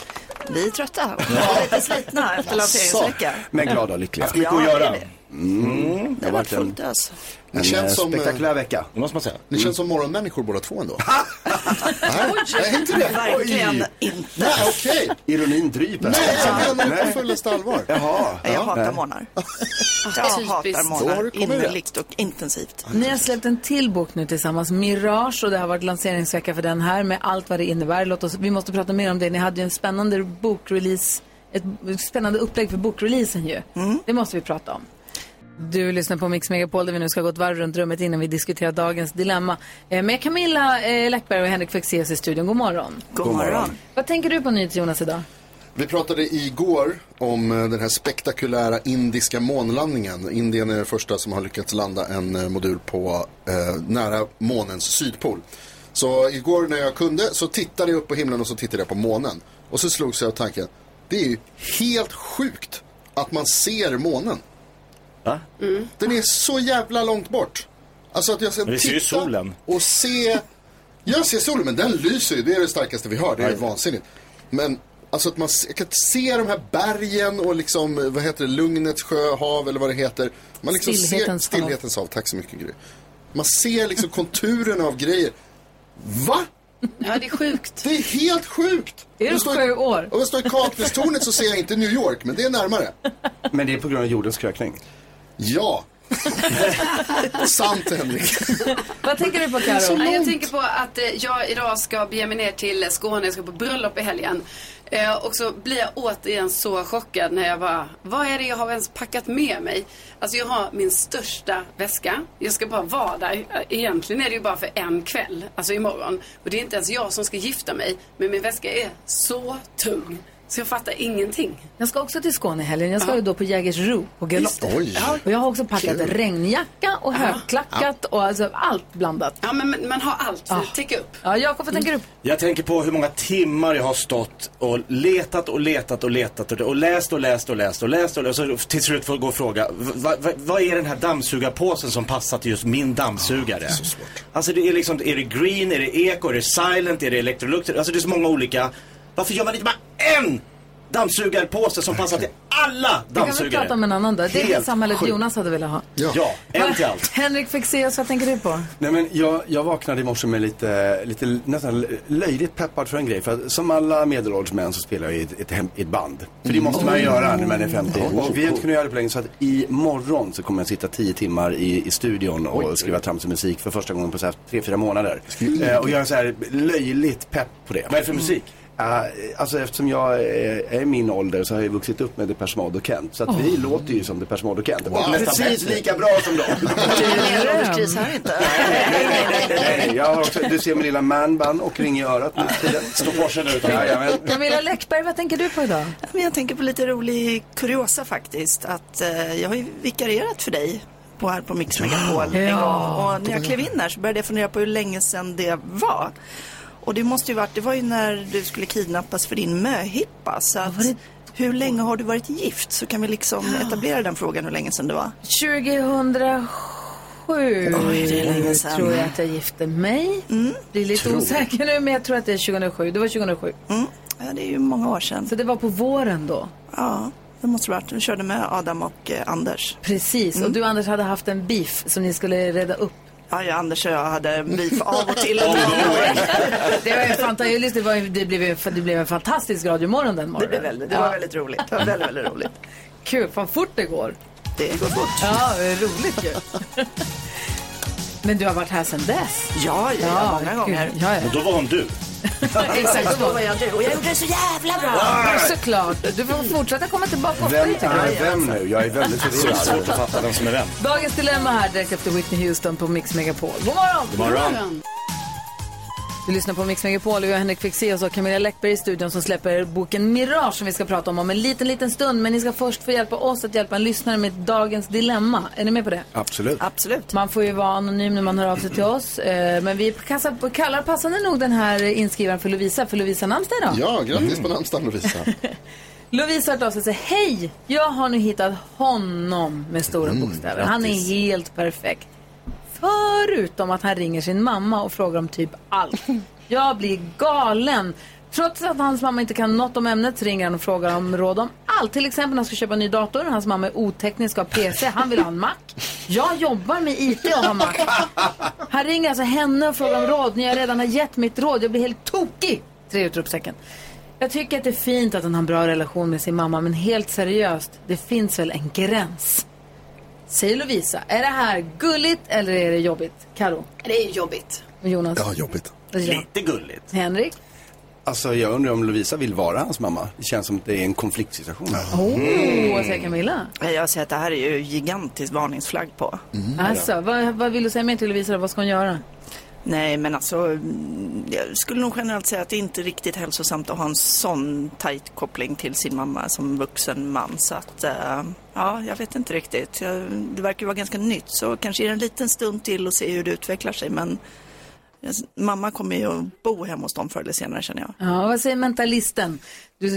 [SPEAKER 13] Vi är trötta och lite slitna efter
[SPEAKER 5] Alltså.
[SPEAKER 13] lanseringsveckan.
[SPEAKER 14] Men glada och lyckliga.
[SPEAKER 13] Haft mycket att göra.
[SPEAKER 14] Mm. Det har varit en,
[SPEAKER 13] Fullt alltså. ös.
[SPEAKER 14] en
[SPEAKER 2] känns
[SPEAKER 14] eh,
[SPEAKER 2] som, eh,
[SPEAKER 14] spektakulär vecka.
[SPEAKER 3] Det måste man säga.
[SPEAKER 2] Ni känns som morgonmänniskor båda två ändå.
[SPEAKER 13] Nej,
[SPEAKER 2] inte det.
[SPEAKER 13] Verkligen
[SPEAKER 2] Oj.
[SPEAKER 13] inte.
[SPEAKER 2] Nej, okej.
[SPEAKER 14] Ironin dryper.
[SPEAKER 2] Nej, jag
[SPEAKER 14] Ja.
[SPEAKER 2] menar det på
[SPEAKER 14] Nej.
[SPEAKER 2] fullaste allvar.
[SPEAKER 14] Jaha.
[SPEAKER 13] Jag
[SPEAKER 14] Ja.
[SPEAKER 13] hatar
[SPEAKER 14] Nej.
[SPEAKER 13] morgnar. Jag
[SPEAKER 1] typiskt.
[SPEAKER 13] hatar
[SPEAKER 1] Så har du
[SPEAKER 13] morgnar
[SPEAKER 1] kommit rätt.
[SPEAKER 13] innerligt och intensivt.
[SPEAKER 1] Ni har släppt en till bok nu tillsammans, Mirage, och det har varit lanseringsvecka för den här med allt vad det innebär. Låt oss, vi måste prata mer om det. Ni hade ju en spännande bokrelease, ett spännande upplägg för bokreleasen ju.
[SPEAKER 4] Mm.
[SPEAKER 1] Det måste vi prata om. Du lyssnar på Mix Megapol där vi nu ska gå ett varv runt rummet innan vi diskuterar dagens dilemma. Eh, Med Camilla eh, Läckberg och Henrik Fexeus i studion. God morgon.
[SPEAKER 2] God God morgon. morgon.
[SPEAKER 1] Vad tänker du på nyhets Jonas idag?
[SPEAKER 2] Vi pratade igår om eh, den här spektakulära indiska månlandningen. Indien är den första som har lyckats landa en eh, modul på eh, nära månens sydpol. Så igår när jag kunde så tittade jag upp på himlen och så tittade jag på månen. Och så slogs jag av tanken, det är ju helt sjukt att man ser månen.
[SPEAKER 3] Va?
[SPEAKER 2] Den är så jävla långt bort. Alltså att jag ska
[SPEAKER 3] Men vi ser ju
[SPEAKER 2] titta
[SPEAKER 3] solen.
[SPEAKER 2] och se. Jag ser solen, men den lyser ju. Det är det starkaste vi har. Det är vansinnigt. Men alltså att man se- jag kan se de här bergen och liksom, eh, vad heter det, lugnets sjö, hav eller vad det heter. Man liksom
[SPEAKER 1] Stillhetens
[SPEAKER 2] ser,
[SPEAKER 1] hav.
[SPEAKER 2] Stillhetens hav. Tack så mycket Gry. Man ser liksom *laughs* konturerna av grejer. Va?
[SPEAKER 4] Ja, det är sjukt.
[SPEAKER 2] Det är helt sjukt.
[SPEAKER 1] Är
[SPEAKER 2] Om
[SPEAKER 1] du
[SPEAKER 2] jag står i-
[SPEAKER 1] sju år?
[SPEAKER 2] Om jag står i Kaknästornet så ser jag inte New York, men det är närmare.
[SPEAKER 14] Men det är på grund av jordens krökning.
[SPEAKER 2] Ja. *laughs* Sant Henrik.
[SPEAKER 1] Vad tänker du på Karo?
[SPEAKER 4] Nej, jag tänker på att eh, jag idag ska bege mig ner till Skåne, jag ska på bröllop i helgen. Eh, och så blir jag återigen så chockad när jag bara, vad är det jag har ens packat med mig? Alltså jag har min största väska, jag ska bara vara där. Eh, Egentligen är det ju bara för en kväll, alltså imorgon. Och det är inte ens jag som ska gifta mig, men min väska är så tung. Så jag fattar ingenting.
[SPEAKER 1] Jag ska också till Skåne i helgen. Jag ska ju då på Jägersro på
[SPEAKER 4] Just
[SPEAKER 1] galopp.
[SPEAKER 4] det. Oj.
[SPEAKER 1] Och jag har också packat
[SPEAKER 4] Kul.
[SPEAKER 1] regnjacka och högklackat och alltså allt blandat.
[SPEAKER 4] Ja, men men man har allt,
[SPEAKER 1] Ah.
[SPEAKER 4] ah. täcka upp.
[SPEAKER 1] Ja, Jakob, vad tänker du på?
[SPEAKER 3] Jag tänker på hur många timmar jag har stått och letat och letat och letat och, och läst och läst och läst och läst och läst. Och så till slut får jag gå och fråga, "Va- va- va- vad är den här dammsugarpåsen som passar till just min dammsugare? Alltså det är liksom, är det green, är det eko, är det silent, är det electrolux? Alltså det är så många olika. Varför gör man inte bara en dammsugarpåse som passar till alla
[SPEAKER 1] Vi kan väl
[SPEAKER 3] dammsugare?
[SPEAKER 1] prata om en annan dag. Det är det
[SPEAKER 14] Helt
[SPEAKER 1] samhället
[SPEAKER 14] sjukt.
[SPEAKER 1] Jonas hade velat ha.
[SPEAKER 14] Ja. en till allt.
[SPEAKER 1] Henrik Fexeus, vad tänker du på?
[SPEAKER 14] Nej, men jag, jag vaknade i morse med lite, lite nästan löjligt peppad för en grej. För att, som alla medelålders män så spelar jag i ett, ett, hem, i ett band. För det måste man ju göra när man är 50.
[SPEAKER 2] Oh.
[SPEAKER 14] Och vi har inte kunnat göra Mm. det på länge. Så att imorgon så kommer jag sitta 10 timmar i, i studion och skriva tramsig musik för första gången på så här 3-4 månader. Eh, och jag är så här löjligt pepp på det. Vad
[SPEAKER 3] är det för musik?
[SPEAKER 14] alltså eftersom jag eh, är i min ålder så har jag vuxit upp med Depeche Mode och Kent. Så att vi låter ju som Depeche Mode och Kent.
[SPEAKER 13] Wow.
[SPEAKER 14] Precis lika bra som dem.
[SPEAKER 1] Ehm,
[SPEAKER 13] Ingen ålderskris här inte.
[SPEAKER 14] Nej, jag har också, du ser min lilla manband och ring i örat nu för tiden. Står
[SPEAKER 3] korsen ut.
[SPEAKER 14] Jajamän.
[SPEAKER 1] Camilla Läckberg, vad tänker du på idag?
[SPEAKER 13] Ja, Men jag tänker på lite rolig kuriosa faktiskt. Att eh, jag har ju vikarierat för dig på, här på Mix Megapol en gång. Och när jag klev in här så började jag fundera på hur länge sedan det var. Och det måste ju varit, det var ju när du skulle kidnappas för din möhippa. Så att, hur länge har du varit gift? Så kan vi liksom etablera den frågan hur länge sedan det var.
[SPEAKER 1] 2007
[SPEAKER 13] Oj, det är länge sedan.
[SPEAKER 1] tror jag att jag gifte mig. Blir lite
[SPEAKER 13] Tror.
[SPEAKER 1] osäker nu, men jag tror att det är 2007. Det var 2007.
[SPEAKER 13] Mm. Ja, det är ju många år sedan.
[SPEAKER 1] Så det var på våren då?
[SPEAKER 13] Ja, det måste det varit. Du körde med Adam och eh, Anders.
[SPEAKER 1] Precis, och du Anders hade haft en beef som ni skulle reda upp.
[SPEAKER 13] Ja, jag, Anders och jag hade beef av och *laughs* till.
[SPEAKER 1] Det var ju fantastiskt. Det, var, ju- det, blev, ju- det blev en fantastisk radiomorgon den morgonen.
[SPEAKER 13] blev väldigt- det var väldigt roligt. Det var väldigt, väldigt roligt.
[SPEAKER 1] Kul, fan fort det går.
[SPEAKER 13] Det går fort.
[SPEAKER 1] Ja, det är roligt ju. *laughs* Men du har varit här sedan dess?
[SPEAKER 13] Ja, ja, många gånger.
[SPEAKER 1] Ja,
[SPEAKER 13] *laughs*
[SPEAKER 1] ja.
[SPEAKER 3] Och då var hon du.
[SPEAKER 1] Exakt,
[SPEAKER 13] då var jag du och jag gjorde det så jävla bra.
[SPEAKER 1] Ja, Såklart. Du får fortsätta komma tillbaka ofta
[SPEAKER 14] Vem
[SPEAKER 1] tycker jag.
[SPEAKER 14] är vem nu? Jag är väldigt
[SPEAKER 3] Så det är
[SPEAKER 14] förvirrad.
[SPEAKER 3] svårt att fatta vem som är vem.
[SPEAKER 1] Dagens Dilemma här direkt efter Whitney Houston på Mix Megapol. God morgon!
[SPEAKER 3] God morgon.
[SPEAKER 1] Du lyssnar på Mix Megapol och jag Henrik Fexeus och Camilla Läckberg i studion som släpper boken Mirage som vi ska prata om om en liten, liten stund. Men ni ska först få hjälpa oss att hjälpa en lyssnare med dagens dilemma. Är ni med på det?
[SPEAKER 14] Absolut.
[SPEAKER 1] Absolut. Man får ju vara anonym när man hör av sig till oss. Eh, Men vi kassar, kallar passande nog den här inskrivaren för Lovisa, för Lovisa har namnsdag idag.
[SPEAKER 2] Ja, grattis på namnsdagen Lovisa.
[SPEAKER 1] Lovisa har hört av sig och säger Hej! Jag har nu hittat honom med stora bokstäver. Han är
[SPEAKER 2] grattis.
[SPEAKER 1] helt perfekt. Förutom att han ringer sin mamma och frågar om typ allt. Jag blir galen. Trots att hans mamma inte kan något om ämnet så ringer han och frågar om råd om allt. Till exempel när han ska köpa en ny dator. Hans mamma är oteknisk och har PC. Han vill ha en Mac. Jag jobbar med IT och har Mac. Han ringer alltså henne och frågar om råd när jag redan har gett mitt råd. Jag blir helt tokig! Tre utropstecken. Jag tycker att det är fint att han har en bra relation med sin mamma, men helt seriöst, det finns väl en gräns? Säger Lovisa, är det här gulligt eller är det jobbigt? Karo?
[SPEAKER 13] Det är jobbigt.
[SPEAKER 1] Och Jonas?
[SPEAKER 14] Ja, jobbigt.
[SPEAKER 1] Ja.
[SPEAKER 14] gulligt.
[SPEAKER 1] Henrik?
[SPEAKER 14] Alltså jag undrar om Lovisa vill vara hans mamma. Det känns som att det är en konfliktsituation.
[SPEAKER 1] Åh, Mm. vad säger Camilla?
[SPEAKER 13] Jag säger att det här är ju gigantisk varningsflagg på.
[SPEAKER 1] Alltså, vad, vad vill du säga mer till Lovisa då? Vad ska hon göra?
[SPEAKER 13] Nej, men alltså, mm, jag skulle nog generellt säga att det är inte riktigt hälsosamt att ha en sån tajt koppling till sin mamma som vuxen man. Så att, eh, ja, jag vet inte riktigt. Jag, det verkar ju vara ganska nytt, så kanske ge det en liten stund till och se hur det utvecklar sig. Men jag- mamma kommer ju att bo hemma hos dem förr eller senare, känner jag.
[SPEAKER 1] Ja, vad säger mentalisten? Du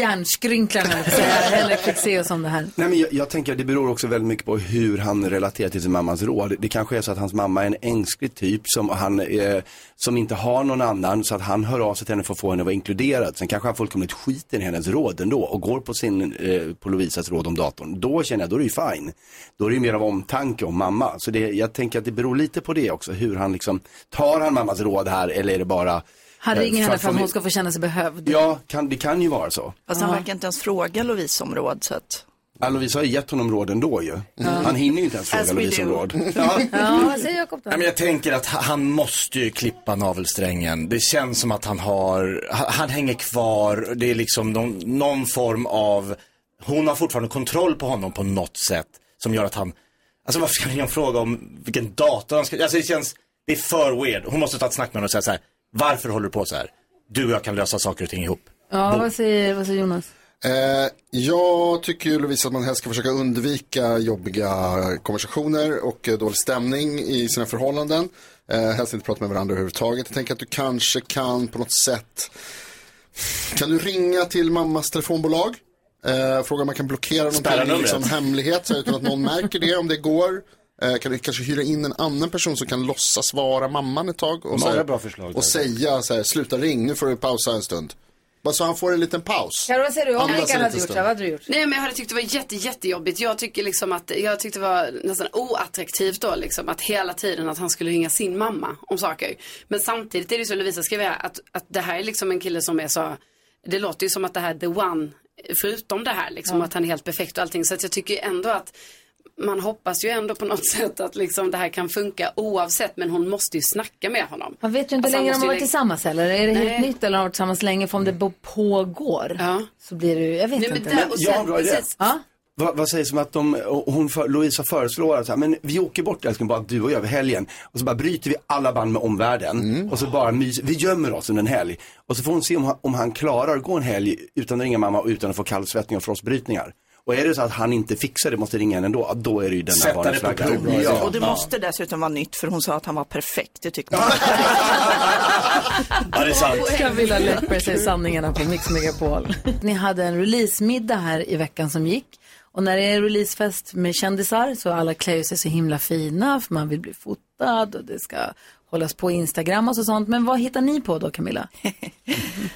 [SPEAKER 1] hjärnskrynklar när du säger Henrik fick se oss om det här.
[SPEAKER 14] Nej, men jag, jag tänker att det beror också väldigt mycket på hur han relaterar till sin mammas råd. Det kanske är så att hans mamma är en ängslig typ som, han, eh, som inte har någon annan så att han hör av sig till henne för att få henne att vara inkluderad. Sen kanske han fullkomligt skiter i hennes råd ändå och går på, sin, eh, på Lovisas råd om datorn. Då känner jag, då är det ju fine. Då är det ju mer av omtanke om mamma. Så det, jag tänker att det beror lite på det också. Hur han liksom, tar han mammas råd här eller är det bara...
[SPEAKER 1] Han
[SPEAKER 14] eh,
[SPEAKER 1] ringer henne för att
[SPEAKER 14] få-
[SPEAKER 1] hon ska få känna sig behövd.
[SPEAKER 14] Ja, kan, det kan ju vara så.
[SPEAKER 13] Fast han verkar inte ens fråga Lovisa om råd, så att...
[SPEAKER 14] Ja, Lovisa har ju gett honom råd ändå ju. Han hinner ju inte ens
[SPEAKER 13] As
[SPEAKER 14] fråga
[SPEAKER 13] we
[SPEAKER 14] Lovisa om
[SPEAKER 13] do. *laughs*
[SPEAKER 14] råd.
[SPEAKER 1] Ja, vad säger Jakob då?
[SPEAKER 3] Nej, men jag tänker att ha- han måste ju klippa navelsträngen. Det känns som att han har, ha- han hänger kvar. Det är liksom någon, någon form av, hon har fortfarande kontroll på honom på något sätt. Som gör att han, alltså varför ska han fråga om vilken dator han ska, alltså det känns, det är för weird. Hon måste ta ett snack med honom och säga så här, varför håller du på så här? Du och jag kan lösa saker och ting ihop.
[SPEAKER 1] Ja, vad säger, vad säger Jonas?
[SPEAKER 2] Eh, jag tycker ju Lovisa att man helst ska försöka undvika jobbiga konversationer och eh, dålig stämning i sina förhållanden. Eh, helst inte prata med varandra överhuvudtaget. Jag tänker att du kanske kan på något sätt kan du ringa till mammas telefonbolag? Eh, fråga om man kan blockera
[SPEAKER 3] Spärra
[SPEAKER 2] någonting,
[SPEAKER 3] numret.
[SPEAKER 2] liksom hemlighet så här, utan att någon märker det om det går. Eh, kan du kanske hyra in en annan person som kan låtsas vara mamman ett tag och, så här,
[SPEAKER 3] Många bra förslag där.
[SPEAKER 2] och säga så här, sluta ring, nu får du pausa en stund. Bara så han får en liten paus.
[SPEAKER 1] Karo, vad säger du? Om
[SPEAKER 2] Andas en
[SPEAKER 1] Rickard hade
[SPEAKER 2] liten
[SPEAKER 1] gjort så
[SPEAKER 2] stund.
[SPEAKER 1] här, vad hade du gjort?
[SPEAKER 4] Nej men jag hade tyckt det var jätte, jättejobbigt. Jag tycker liksom att, jag tyckte det var nästan oattraktivt då liksom att hela tiden att han skulle ringa sin mamma om saker. Men samtidigt är det ju så Lovisa skrev här att, att det här är liksom en kille som är så, det låter ju som att det här är the one förutom det här liksom
[SPEAKER 1] Ja.
[SPEAKER 4] att han är helt perfekt och allting. Så att jag tycker ju ändå att man hoppas ju ändå på något *laughs* sätt att liksom det här kan funka oavsett men hon måste ju snacka med honom.
[SPEAKER 1] Man vet ju inte
[SPEAKER 4] Alltså, han
[SPEAKER 1] längre
[SPEAKER 4] måste
[SPEAKER 1] om de
[SPEAKER 4] ju
[SPEAKER 1] varit
[SPEAKER 4] lägga-
[SPEAKER 1] tillsammans eller är det
[SPEAKER 4] Nej.
[SPEAKER 1] helt nytt eller har varit tillsammans länge för om det bo- pågår så blir det ju, jag vet
[SPEAKER 4] Nej, men
[SPEAKER 1] inte.
[SPEAKER 4] där- och
[SPEAKER 14] Jag har en bra idé.
[SPEAKER 1] Ja.
[SPEAKER 14] Vad, vad sägs om att de, och hon för, Lovisa föreslår att så här, men vi åker bort älskling, bara du och jag över helgen. Och så bara bryter vi alla band med omvärlden. Och så bara mys, vi gömmer oss under en helg. Och så får hon se om, han- om han klarar att gå en helg utan att ringa mamma och utan att få kallsvettning och frossbrytningar. Och är det så att han inte fixar det, måste ringa henne ändå, ja, då är det ju den
[SPEAKER 3] Sätta
[SPEAKER 14] här
[SPEAKER 3] det på
[SPEAKER 14] varningsflaggan.
[SPEAKER 3] prov. Ja.
[SPEAKER 13] Och det
[SPEAKER 3] Ja.
[SPEAKER 13] måste dessutom vara nytt, för hon sa att han var perfekt. Det tyckte man.
[SPEAKER 14] *laughs*
[SPEAKER 3] Ja, det är sant.
[SPEAKER 1] Camilla Läckberg säger sanningarna på Mix *laughs* Megapol. Ni hade en releasemiddag här i veckan som gick. Och när det är releasefest med kändisar så alla klär ju sig så himla fina för man vill bli fotad och det ska hållas på Instagram och så sånt. Men vad hittar ni på då Camilla?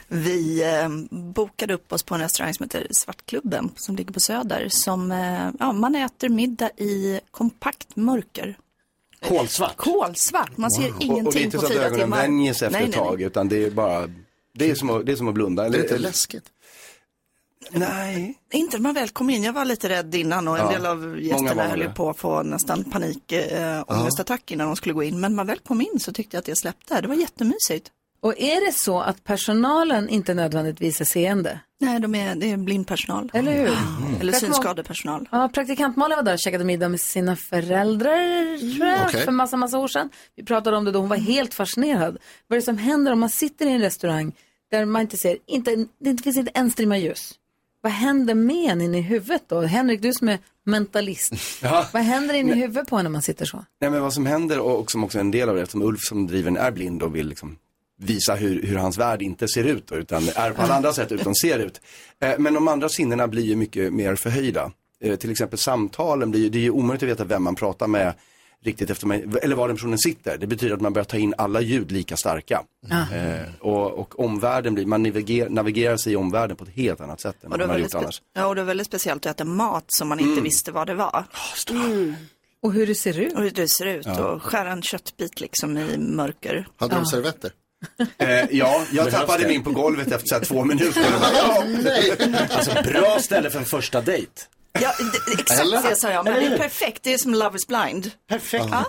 [SPEAKER 13] Vi eh, bokade upp oss på en restaurang som heter Svartklubben som ligger på Söder. Som, eh, ja, man äter middag i kompakt mörker.
[SPEAKER 3] Kolsvart.
[SPEAKER 13] Kolsvart, man ser
[SPEAKER 14] Och-
[SPEAKER 13] ingenting
[SPEAKER 14] Och det är inte
[SPEAKER 13] på
[SPEAKER 14] så att
[SPEAKER 13] fyra
[SPEAKER 14] ögonen
[SPEAKER 13] timmar.
[SPEAKER 14] vänjer sig efter
[SPEAKER 13] Nej,
[SPEAKER 14] ett
[SPEAKER 13] nej,
[SPEAKER 14] tag,
[SPEAKER 13] nej.
[SPEAKER 14] utan det är bara, det är som att, det är som att blunda.
[SPEAKER 2] Det är lite läskigt.
[SPEAKER 14] Nej.
[SPEAKER 13] Inte när man väl kom in. Jag var lite rädd innan och en
[SPEAKER 14] Ja,
[SPEAKER 13] del av
[SPEAKER 14] många
[SPEAKER 13] gästerna
[SPEAKER 14] var
[SPEAKER 13] höll ju
[SPEAKER 14] det.
[SPEAKER 13] på att få nästan panik, eh, ångestattack innan de skulle gå in. Men när man väl kom in så tyckte jag att det släppte. Det var jättemysigt.
[SPEAKER 1] Och är det så att personalen inte nödvändigtvis är seende?
[SPEAKER 13] Nej, de är, det är blindpersonal.
[SPEAKER 1] Eller hur? Mm.
[SPEAKER 13] Eller
[SPEAKER 1] Praktikant-
[SPEAKER 13] synskadepersonal.
[SPEAKER 1] Ja, praktikant Malin var där och käkade middag med sina föräldrar tror jag,
[SPEAKER 13] Okej.
[SPEAKER 1] för massa, massa år sedan. Vi pratade om det då, hon var helt fascinerad. Vad är det som händer om man sitter i en restaurang där man inte ser, inte, det finns inte en strimma ljus. Vad händer med en inne i huvudet då? Henrik, du som är mentalist.
[SPEAKER 14] Ja.
[SPEAKER 1] Vad händer inne i huvudet på en när man sitter så?
[SPEAKER 14] Nej men vad som händer och och som också är en del av det, eftersom Ulf som driver den är blind och vill liksom visa hur, hur hans värld inte ser ut då, utan är på alla andra sätt utan ser ut. Eh, men de andra sinnena blir ju mycket mer förhöjda. Eh, till exempel samtalen, blir, ju- det är ju omöjligt att veta vem man pratar med riktigt efter man, eller var den personen sitter. Det betyder att man börjar ta in alla ljud lika starka.
[SPEAKER 13] Ah.
[SPEAKER 14] Eh, och, och omvärlden blir, man navigerar, navigerar sig i omvärlden på ett helt annat sätt än
[SPEAKER 13] Och
[SPEAKER 14] vad
[SPEAKER 13] det,
[SPEAKER 14] man
[SPEAKER 13] var
[SPEAKER 14] har
[SPEAKER 13] väldigt
[SPEAKER 14] gjort annars.
[SPEAKER 13] spe- ja, och det var väldigt speciellt att äta mat som man inte
[SPEAKER 14] Mm.
[SPEAKER 13] visste vad det var.
[SPEAKER 1] Mm. Och hur det ser ut.
[SPEAKER 13] Och hur det ser ut
[SPEAKER 14] Ja.
[SPEAKER 13] och skära en köttbit liksom i mörker.
[SPEAKER 14] Hade de Ja.
[SPEAKER 2] servetter?
[SPEAKER 14] Eh, ja, jag
[SPEAKER 3] Behövs
[SPEAKER 14] tappade
[SPEAKER 3] det?
[SPEAKER 14] min på golvet efter så här två
[SPEAKER 3] *laughs*
[SPEAKER 14] minuter.
[SPEAKER 3] Alltså bra ställe för en första dejt.
[SPEAKER 13] Ja,
[SPEAKER 14] *laughs*
[SPEAKER 13] det, exakt
[SPEAKER 3] Eller?
[SPEAKER 13] det sa jag. Men det
[SPEAKER 3] Eller
[SPEAKER 13] är
[SPEAKER 3] hur?
[SPEAKER 13] perfekt, det är som Love is blind.
[SPEAKER 3] Perfekt.
[SPEAKER 13] Ja.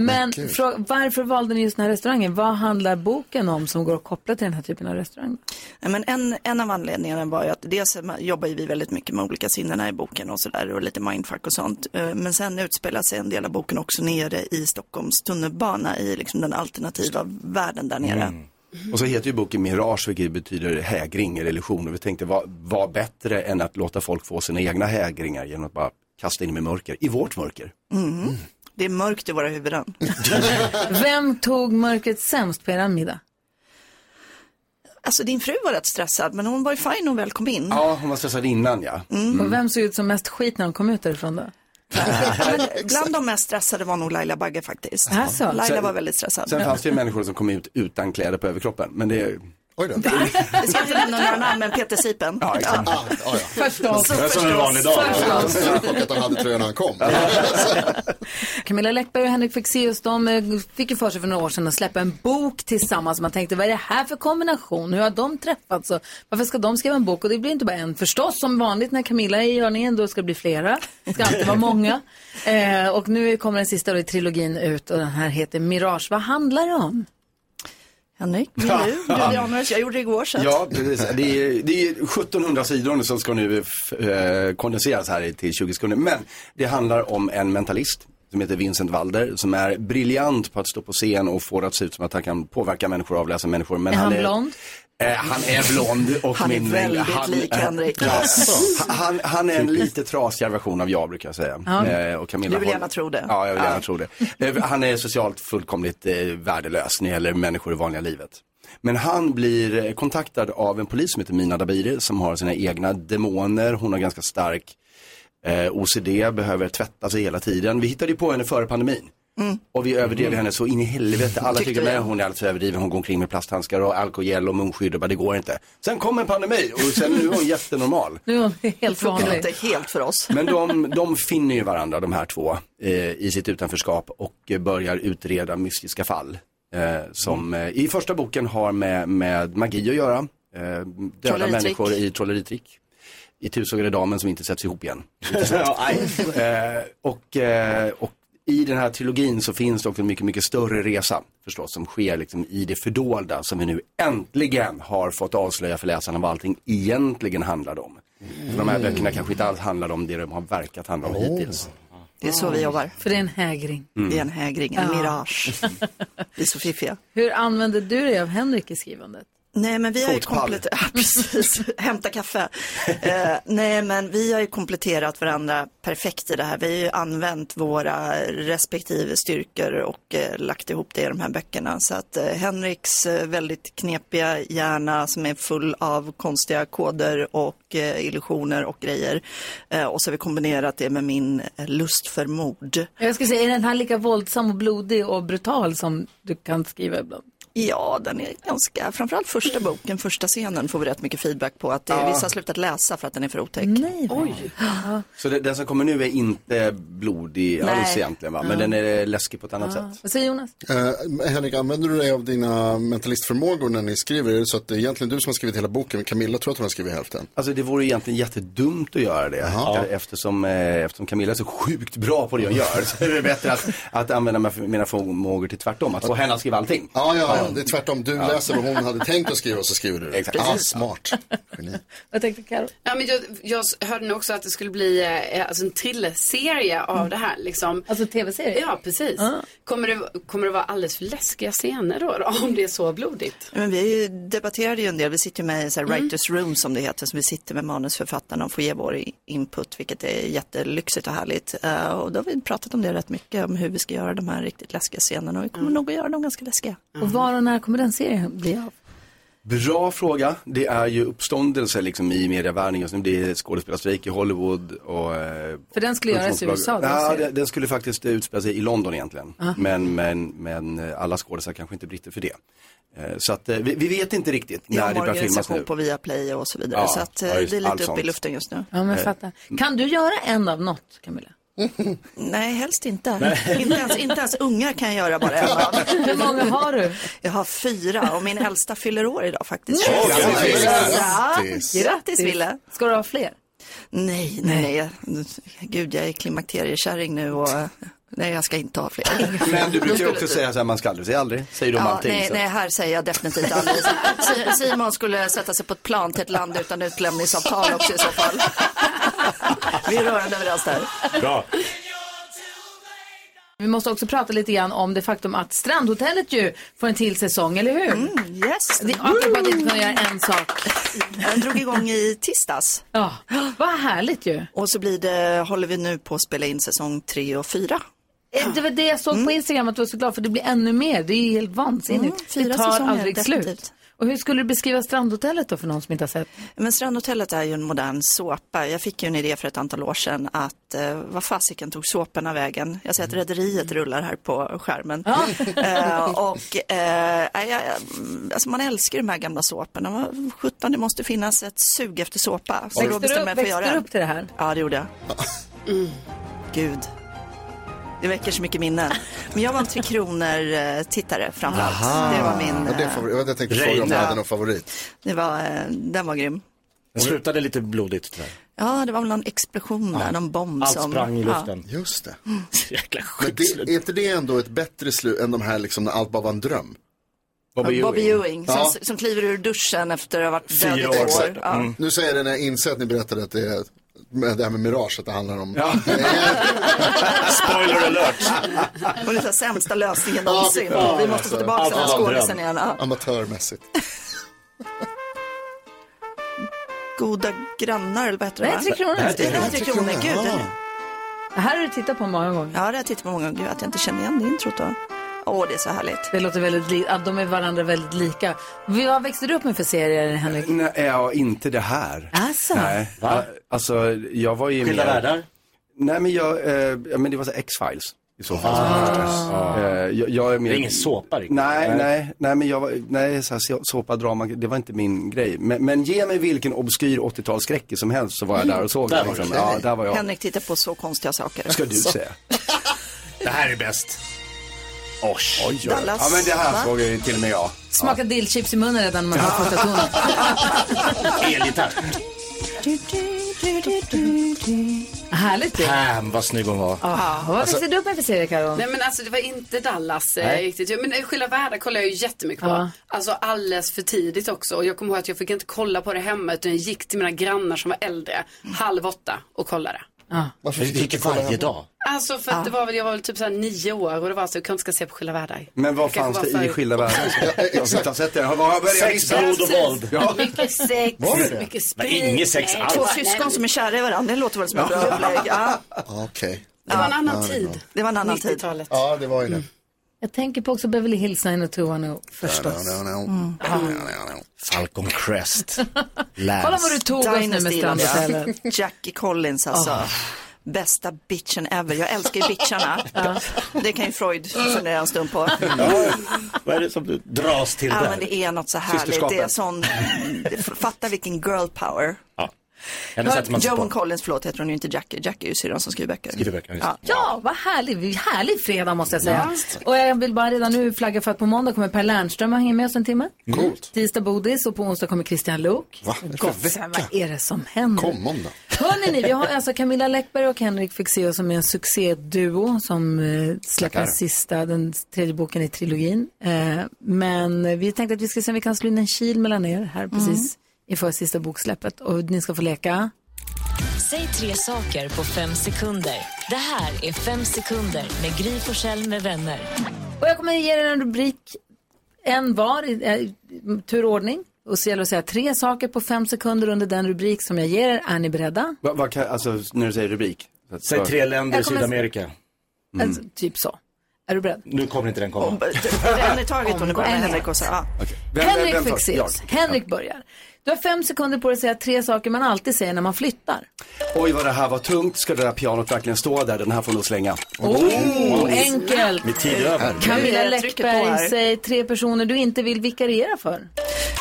[SPEAKER 1] Men fråga, varför valde ni just den här restaurangen? Vad handlar boken om som går att koppla till den här typen av restaurang?
[SPEAKER 13] Nej, men en, en av anledningarna var ju att dels jobbar ju vi väldigt mycket med olika sinnena i boken och sådär och lite mindfuck och sånt. Eh, Men sen utspelar sig en del av boken också nere i Stockholms tunnelbana i liksom den alternativa världen där nere.
[SPEAKER 14] Mm. Och så heter ju boken Mirage, vilket betyder hägring eller illusion. Och vi tänkte, vad vad bättre än att låta folk få sina egna hägringar genom att bara kasta in dem i mörker, i vårt mörker.
[SPEAKER 13] Mm. Det är mörkt i våra huvuden.
[SPEAKER 1] Vem tog mörkret sämst på er middag?
[SPEAKER 13] Alltså din fru var rätt stressad men hon var ju fin när hon väl kom in.
[SPEAKER 14] Ja, hon var stressad innan ja.
[SPEAKER 1] Och vem såg ut som mest skit när de kom ut därifrån då?
[SPEAKER 13] Men bland de mest stressade var nog Laila Bagge faktiskt.
[SPEAKER 1] Alltså.
[SPEAKER 13] Laila
[SPEAKER 14] Sen-
[SPEAKER 13] var väldigt stressad.
[SPEAKER 14] Sen fanns det ju människor som kom ut utan kläder på överkroppen, men det... Oj då.
[SPEAKER 13] Vi ska inte nämna några namn men Peter Sipen.
[SPEAKER 14] Ja, exakt.
[SPEAKER 1] Förstås.
[SPEAKER 2] Det är som en vanlig dag.
[SPEAKER 1] Förstås.
[SPEAKER 2] Jag var chockad att han hade tröjan när han kom.
[SPEAKER 1] Camilla Läckberg och Henrik Fexeus, de eh, fick ju för sig för några år sedan att släppa en bok tillsammans. Man tänkte, vad är det här för kombination? Hur har de träffats? Och varför ska de skriva en bok? Och det blir inte bara en förstås, som vanligt när Camilla är i görningen, då ska det bli flera. Det ska alltid vara många. Eh, och nu kommer den sista då i trilogin ut och den här heter Mirage. Vad handlar det om?
[SPEAKER 13] Henrik, vill du? Du är honors, jag gjorde det igår så att...
[SPEAKER 14] Ja, precis. Det är, det är 1700 sidor som ska nu eh, kondenseras här i- till 20 sekunder. Men det handlar om en mentalist som heter Vincent Walder som är briljant på att stå på scen och få det att se ut som att han kan påverka människor och avläsa människor. Men
[SPEAKER 1] är han,
[SPEAKER 14] är,
[SPEAKER 1] blond?
[SPEAKER 14] Eh, han är blond och
[SPEAKER 1] Han är
[SPEAKER 14] min
[SPEAKER 1] väldigt lik
[SPEAKER 14] eh,
[SPEAKER 1] Henrik.
[SPEAKER 14] ja.
[SPEAKER 1] Jaså?
[SPEAKER 14] han, han är en lite trasigare version av jag brukar jag säga.
[SPEAKER 13] Ja.
[SPEAKER 14] Eh, och Camilla
[SPEAKER 13] Du vill
[SPEAKER 14] håller-
[SPEAKER 13] gärna tro det.
[SPEAKER 14] Ja, jag vill gärna
[SPEAKER 13] Ja.
[SPEAKER 14] tro det. Eh, Han är socialt fullkomligt eh, värdelös när det gäller människor i vanliga livet. Men han blir eh, kontaktad av en polis som heter Mina Dabiri som har sina egna demoner. Hon har ganska stark eh, OCD, behöver tvätta sig hela tiden. Vi hittade ju på henne före pandemin. Och vi överdrev henne så in i helvete. Alla
[SPEAKER 13] Mm. Tyckte
[SPEAKER 14] tycker
[SPEAKER 13] vi.
[SPEAKER 14] med hon är alldeles överdriven. Hon går omkring med plasthandskar och alkogel och munskydd och bara det går inte. Sen kom en pandemi och sen nu är hon jättenormal.
[SPEAKER 1] Nu är hon helt
[SPEAKER 13] Funkar
[SPEAKER 1] vanlig.
[SPEAKER 13] inte helt för oss.
[SPEAKER 14] Men de, de finner ju varandra de här två eh, i sitt utanförskap och eh, börjar utreda mystiska fall. Eh, som eh, i första boken har med, med magi att göra. Eh, döda
[SPEAKER 3] Trolleritrick.
[SPEAKER 14] människor i trolleritrick. I Tusågade damen som inte sätts ihop
[SPEAKER 13] *laughs*
[SPEAKER 14] igen. eh, och, eh, och i den här trilogin så finns det också en mycket, mycket större resa förstås som sker liksom i det fördolda som vi nu äntligen har fått avslöja för läsarna vad allting egentligen handlade om. För de här böckerna kanske inte alls handlar om det de har verkat handla om hittills.
[SPEAKER 13] Det är så vi jobbar.
[SPEAKER 1] För det är en hägring.
[SPEAKER 14] Mm.
[SPEAKER 13] Det är en hägring, en
[SPEAKER 1] Ja.
[SPEAKER 13] mirage.
[SPEAKER 14] *laughs*
[SPEAKER 13] Vi är så fiffiga.
[SPEAKER 1] Hur använder du dig av Henrik i skrivandet?
[SPEAKER 13] Nej men vi har ju
[SPEAKER 1] Fotpall.
[SPEAKER 13] kompletterat, *laughs* ja, precis, hämta kaffe. Eh, nej men vi har ju kompletterat varandra perfekt i det här. Vi har ju använt våra respektive styrkor och eh, lagt ihop det i de här böckerna. Så att eh, Henriks eh, väldigt knepiga hjärna som är full av konstiga koder och eh, illusioner och grejer. Eh, och så har vi kombinerat det med min eh, lust för mord.
[SPEAKER 1] Jag ska säga, är den här lika våldsam och blodig och brutal som du kan skriva ibland?
[SPEAKER 13] Ja, den är ganska, framförallt första boken, första scenen får vi rätt mycket feedback på att det,
[SPEAKER 14] Ja.
[SPEAKER 13] vissa har slutat läsa för att den är för otäck.
[SPEAKER 1] Nej,
[SPEAKER 13] Oj.
[SPEAKER 14] Så det, den som kommer nu är inte blodig
[SPEAKER 13] Nej.
[SPEAKER 14] alls egentligen va? Men
[SPEAKER 13] Ja.
[SPEAKER 14] den är läskig på ett annat sätt.
[SPEAKER 1] Vad säger Jonas?
[SPEAKER 2] Eh, Henrik, använder du dig av dina mentalistförmågor när ni skriver? Är det så att det är egentligen du som har skrivit hela boken, men Camilla tror att hon har skrivit hälften?
[SPEAKER 14] Alltså det vore egentligen jättedumt att göra det.
[SPEAKER 2] Jaha.
[SPEAKER 14] E- Eftersom, eh, eftersom Camilla är så sjukt bra på det hon gör så är det bättre att, att använda mina- mina förmågor till tvärtom. Att få henne att skriva allting.
[SPEAKER 2] Ja, ja, ja, det är tvärtom. Du läser vad hon hade tänkt att skriva och så skriver du. Exakt. Ah, smart. Geni.
[SPEAKER 1] Vad tänkte Carro?
[SPEAKER 4] Ja, men jag, jag hörde nog också att det skulle bli eh, alltså en thrillerserie av det här. Liksom.
[SPEAKER 1] Alltså tv-serie?
[SPEAKER 4] Ja, precis. Kommer, det, kommer det vara alldeles för läskiga scener då, då om det är så blodigt?
[SPEAKER 13] Men vi är ju- debatterade ju en del, vi sitter ju med i så här
[SPEAKER 14] Mm.
[SPEAKER 13] writers room som det heter, så vi sitter med manusförfattarna och får ge vår i- input, vilket är jättelyxigt och härligt. Eh, och då har vi pratat om det rätt mycket, om hur vi ska göra de här riktigt läskiga scenerna och vi kommer
[SPEAKER 14] Mm.
[SPEAKER 13] nog att göra dem ganska läskiga.
[SPEAKER 1] Och var och när kommer den serien bli av?
[SPEAKER 14] Bra fråga. Det är ju uppståndelse liksom i medievärlden just nu. Det är skådespelarstrejk i Hollywood och... eh,
[SPEAKER 1] För den skulle göras i USA, den
[SPEAKER 14] Ja,
[SPEAKER 1] serien.
[SPEAKER 14] den, den skulle faktiskt eh, utspela sig i London egentligen.
[SPEAKER 1] Ah.
[SPEAKER 14] Men, men, men eh, alla skådisar kanske inte är britter för det. Eh, Så att eh, vi, vi vet inte riktigt
[SPEAKER 13] Vi har
[SPEAKER 14] när det börjar filmas
[SPEAKER 13] organisation
[SPEAKER 14] nu.
[SPEAKER 13] på Viaplay och så vidare,
[SPEAKER 14] Ja,
[SPEAKER 13] så att, eh,
[SPEAKER 14] ja, just
[SPEAKER 13] det är lite
[SPEAKER 14] allt
[SPEAKER 13] uppe i
[SPEAKER 14] sånt.
[SPEAKER 13] luften just nu.
[SPEAKER 1] Ja, men
[SPEAKER 14] Eh,
[SPEAKER 1] fattar. Kan du göra en av något, Camilla? *laughs*
[SPEAKER 13] Nej, helst inte.
[SPEAKER 1] Nej.
[SPEAKER 13] inte, ens, inte ens ungar kan jag göra
[SPEAKER 14] *laughs*
[SPEAKER 13] bara en av.
[SPEAKER 1] Hur många har du?
[SPEAKER 13] Jag har fyra och min äldsta fyller år idag faktiskt.
[SPEAKER 1] Nej.
[SPEAKER 13] Grattis!
[SPEAKER 1] Grattis!
[SPEAKER 13] Ja,
[SPEAKER 1] Grattis.
[SPEAKER 13] Grattis Wille!
[SPEAKER 1] Ska du ha fler?
[SPEAKER 13] Nej, nej, nej. Gud, jag är klimakteriekärring nu och eh, nej, jag ska inte ha fler.
[SPEAKER 14] Men du
[SPEAKER 13] Då
[SPEAKER 14] brukar ju
[SPEAKER 13] skulle
[SPEAKER 14] också
[SPEAKER 13] du-
[SPEAKER 14] säga så här, man ska aldrig säga aldrig. Säger du om
[SPEAKER 13] Ja,
[SPEAKER 14] allting.
[SPEAKER 13] nej,
[SPEAKER 14] så.
[SPEAKER 13] nej, här säger jag
[SPEAKER 14] *laughs*
[SPEAKER 13] definitivt aldrig. Si- Simon skulle sätta sig på ett plan till ett land utan utlämningsavtal också i så
[SPEAKER 14] *laughs*
[SPEAKER 13] fall. Vi är rörande överens där.
[SPEAKER 3] Bra.
[SPEAKER 1] Vi måste också prata lite grann om det faktum att Strandhotellet ju får en till säsong, eller hur?
[SPEAKER 13] Mm. yes.
[SPEAKER 1] Det, apropå att inte kunna göra en sak.
[SPEAKER 13] Den drog igång i tisdags.
[SPEAKER 1] Ja, vad härligt ju.
[SPEAKER 13] Och så blir det, håller vi nu på att spela in säsong tre och fyra.
[SPEAKER 1] Eh, Det var det jag såg på Instagram att du var så glad för det blir ännu mer. Det är ju helt vansinnigt.
[SPEAKER 13] Mm, fyra
[SPEAKER 1] det tar
[SPEAKER 13] säsonger,
[SPEAKER 1] aldrig
[SPEAKER 13] definitivt.
[SPEAKER 1] slut. Och hur skulle du beskriva Strandhotellet då för någon som inte har sett?
[SPEAKER 13] Men Strandhotellet är ju en modern såpa. Jag fick ju en idé för ett antal år sedan att eh, vad fasiken tog såporna vägen? Jag ser
[SPEAKER 1] Mm.
[SPEAKER 13] att Rederiet rullar här på skärmen. eh, och eh, nej, jag- jag- alltså man älskar ju de här gamla såporna. Vad Sjutton, det måste finnas ett sug efter såpa. Så då
[SPEAKER 1] Växte du
[SPEAKER 13] bestämde jag
[SPEAKER 1] upp,
[SPEAKER 13] mig för att
[SPEAKER 1] växte du
[SPEAKER 13] göra
[SPEAKER 1] upp till det här?
[SPEAKER 13] Ja, det gjorde jag.
[SPEAKER 1] *laughs*
[SPEAKER 13] Mm. Gud. Det väcker så mycket minnen. Men jag var en Tre Kronor-tittare framförallt. Det var min...
[SPEAKER 2] Ja, det är
[SPEAKER 13] eh,
[SPEAKER 2] favori- jag tänkte fråga om du
[SPEAKER 13] Reina.
[SPEAKER 2] hade någon favorit.
[SPEAKER 13] Det var, eh, den var grym.
[SPEAKER 3] Den slutade lite blodigt tyvärr.
[SPEAKER 13] Ja, det var väl någon explosion där, någon bomb
[SPEAKER 3] Allt
[SPEAKER 13] som...
[SPEAKER 3] sprang i luften.
[SPEAKER 2] Just *laughs* det. Men det, är inte det ändå ett bättre slut än de här liksom när allt bara var en dröm?
[SPEAKER 13] Bobby, Bobby Ewing,
[SPEAKER 2] Ja.
[SPEAKER 13] som, som kliver ur duschen efter att ha varit död i
[SPEAKER 2] Fyra
[SPEAKER 13] två
[SPEAKER 2] år. Mm.
[SPEAKER 13] år.
[SPEAKER 2] Exakt.
[SPEAKER 13] Ja.
[SPEAKER 4] Mm.
[SPEAKER 2] Nu säger jag det när jag inser att ni berättade att det, är, med det här med Mirage, att det handlar om...
[SPEAKER 3] Spoiler alert!
[SPEAKER 13] Och det är så här sämsta lösningen någonsin.
[SPEAKER 2] Ja,
[SPEAKER 13] Vi måste få tillbaka
[SPEAKER 2] alltså,
[SPEAKER 13] den här
[SPEAKER 2] allt var en
[SPEAKER 13] skådisen
[SPEAKER 2] dröm.
[SPEAKER 13] igen. Ja.
[SPEAKER 2] Amatörmässigt.
[SPEAKER 13] Goda grannar, eller vad heter det?
[SPEAKER 1] Nej,
[SPEAKER 13] va?
[SPEAKER 1] Tre Kronor.
[SPEAKER 13] Det här är Tre
[SPEAKER 1] Tre
[SPEAKER 13] Kronor,
[SPEAKER 1] Kronor,
[SPEAKER 13] gud.
[SPEAKER 1] ja.
[SPEAKER 13] den-
[SPEAKER 1] Det här har du tittat på många gånger.
[SPEAKER 13] Ja, det har jag tittat på många gånger. Gud, Att jag inte känner igen det introt då. Åh, det är så härligt.
[SPEAKER 1] Det låter väldigt li- att de är varandra väldigt lika. Vi- Vad växte du upp med för serier, Henrik?
[SPEAKER 14] Nej, eh, ja, inte det här.
[SPEAKER 1] Alltså.
[SPEAKER 14] Nej, ja, alltså jag var ju...
[SPEAKER 3] Skilda
[SPEAKER 14] mer-
[SPEAKER 3] världar?
[SPEAKER 14] Nej, men jag, eh, ja, men det var så här X-Files i så fall. Eh, jag, jag är mer...
[SPEAKER 3] Ah. Det är ingen såpa riktigt.
[SPEAKER 14] Nej, nej, nej, men jag var, nej, så här, så- såpa, drama, det var inte min grej. Men, men ge mig vilken obskyr 80-talsskräckis som helst så var jag där och såg
[SPEAKER 3] Mm, Där
[SPEAKER 14] det.
[SPEAKER 3] var
[SPEAKER 14] Liksom.
[SPEAKER 3] du.
[SPEAKER 14] Ja, där var jag.
[SPEAKER 13] Henrik tittar på så konstiga saker.
[SPEAKER 14] Ska du
[SPEAKER 13] Så-
[SPEAKER 14] säga.
[SPEAKER 3] *laughs* Det här är bäst. Osh.
[SPEAKER 14] Oj, oj.
[SPEAKER 13] Dallas,
[SPEAKER 14] Ja, men det
[SPEAKER 13] va?
[SPEAKER 14] här såg ju till och med jag.
[SPEAKER 1] Smaka dillchips i munnen redan när man hör första tonen. *laughs*
[SPEAKER 3] Elgitarr.
[SPEAKER 1] Härligt ju.
[SPEAKER 3] Pam, Äh, vad snygg hon var.
[SPEAKER 1] Ja, vad växte du upp med för serier, Karo?
[SPEAKER 4] Nej men alltså det var inte Dallas eh,
[SPEAKER 3] Nej.
[SPEAKER 4] riktigt. Men eh, Skilda världar kollar jag ju jättemycket på.
[SPEAKER 1] Ja.
[SPEAKER 4] Alltså alldeles för tidigt också. Och jag kommer ihåg att jag fick inte kolla på det hemma utan jag gick till mina grannar som var äldre halv åtta och kollade.
[SPEAKER 2] Varför
[SPEAKER 3] Det gick varje dag.
[SPEAKER 4] Alltså för att det var väl, jag var väl typ såhär nio år och det var så, jag kanske ska se på Skilda världar.
[SPEAKER 14] Men vad
[SPEAKER 4] Kanske
[SPEAKER 14] fanns
[SPEAKER 4] var
[SPEAKER 14] det i
[SPEAKER 4] för-
[SPEAKER 14] skilda världar?
[SPEAKER 1] *laughs*
[SPEAKER 14] Jag har inte sett det. Har har jag börjat
[SPEAKER 3] Sex,
[SPEAKER 14] lista?
[SPEAKER 3] blod och våld.
[SPEAKER 14] Ja.
[SPEAKER 4] Mycket sex,
[SPEAKER 3] Var det det?
[SPEAKER 4] mycket
[SPEAKER 3] Men
[SPEAKER 4] sprit.
[SPEAKER 3] inget sex
[SPEAKER 4] Nej,
[SPEAKER 3] alls.
[SPEAKER 13] Två
[SPEAKER 4] det var-
[SPEAKER 13] syskon
[SPEAKER 4] nej,
[SPEAKER 13] som är kära i varandra, det låter väl som ett bra upplägg. Ja,
[SPEAKER 2] Okej.
[SPEAKER 4] Det var en
[SPEAKER 2] Ja,
[SPEAKER 4] annan
[SPEAKER 2] det är bra.
[SPEAKER 4] tid.
[SPEAKER 13] det var en annan tid.
[SPEAKER 4] 90-talet.
[SPEAKER 2] Ja, det var ju det.
[SPEAKER 1] Jag tänker på också Beverly Hills 90210
[SPEAKER 2] No,
[SPEAKER 1] förstås.
[SPEAKER 2] no, no.
[SPEAKER 4] Mm.
[SPEAKER 2] No, no, no.
[SPEAKER 3] Falcon Crest.
[SPEAKER 1] Kolla vad du tog oss nu med Ah.
[SPEAKER 13] Dynasty,
[SPEAKER 1] Strandhotellet.
[SPEAKER 13] ja. *laughs* Jackie Collins alltså. Bästa bitchen ever. Jag älskar ju
[SPEAKER 1] *laughs*
[SPEAKER 13] bitcharna. Det kan ju Freud
[SPEAKER 1] Mm.
[SPEAKER 13] fundera en stund på.
[SPEAKER 3] Vad är det som du dras till
[SPEAKER 13] Ja, men
[SPEAKER 3] där?
[SPEAKER 13] det är något så härligt. Det är
[SPEAKER 14] Systerskapet.
[SPEAKER 13] sån, fatta vilken girl power.
[SPEAKER 3] Ja. Henne sätter man sig på.
[SPEAKER 13] Joan Collins, förlåt, heter hon ju inte Jackie. Jackie är ju syrran som skriver böcker.
[SPEAKER 3] Skriver böcker, just
[SPEAKER 13] ja.
[SPEAKER 1] Ja, vad härlig, härlig fredag måste jag säga. Och jag vill bara redan nu flagga för att på måndag kommer Per Lernström och hänga med oss en timme.
[SPEAKER 2] Coolt.
[SPEAKER 1] Tisdag Bodis och på onsdag kommer Christian Luuk.
[SPEAKER 2] Va? Vad är det för
[SPEAKER 1] Gossen,
[SPEAKER 2] vecka?
[SPEAKER 1] vad är det som händer?
[SPEAKER 2] Kom måndag.
[SPEAKER 1] Hörrni ni, vi har alltså Camilla Läckberg och Henrik Fexeus som är en succéduo som eh, släpper
[SPEAKER 2] Tackar.
[SPEAKER 1] den sista, den tredje boken i trilogin. Eh, men vi tänkte att vi ska se om vi kan slå in en kil mellan er här precis
[SPEAKER 2] Mm.
[SPEAKER 1] inför sista boksläppet och ni ska få leka.
[SPEAKER 15] Säg tre saker på fem sekunder. Det här är Fem sekunder med Gry Forssell med vänner.
[SPEAKER 1] Och jag kommer ge er en rubrik, en var i eh, turordning. Och så gäller det att säga tre saker på fem sekunder under den rubrik som jag ger er. Är ni beredda?
[SPEAKER 14] Vad vad kan, alltså när du säger rubrik. Så att-
[SPEAKER 3] Säg tre länder i
[SPEAKER 1] Jag kommer-
[SPEAKER 3] Sydamerika.
[SPEAKER 1] Alltså, typ så. Är du beredd?
[SPEAKER 3] Nu kommer inte den komma.
[SPEAKER 13] En i taget, hon är bara
[SPEAKER 1] En i
[SPEAKER 13] med Henrik och så. Ja.
[SPEAKER 1] Henrik Fexeus. Henrik börjar. Du har fem sekunder på dig att säga tre saker man alltid säger när man flyttar.
[SPEAKER 14] Oj vad det här var tungt. Ska det där pianot verkligen stå där? Den här får nog slänga.
[SPEAKER 1] Oh, enkelt.
[SPEAKER 14] Med tid över.
[SPEAKER 1] Camilla
[SPEAKER 13] Jag trycker på
[SPEAKER 1] Läckberg,
[SPEAKER 13] här.
[SPEAKER 1] säg tre personer du inte vill vikariera för.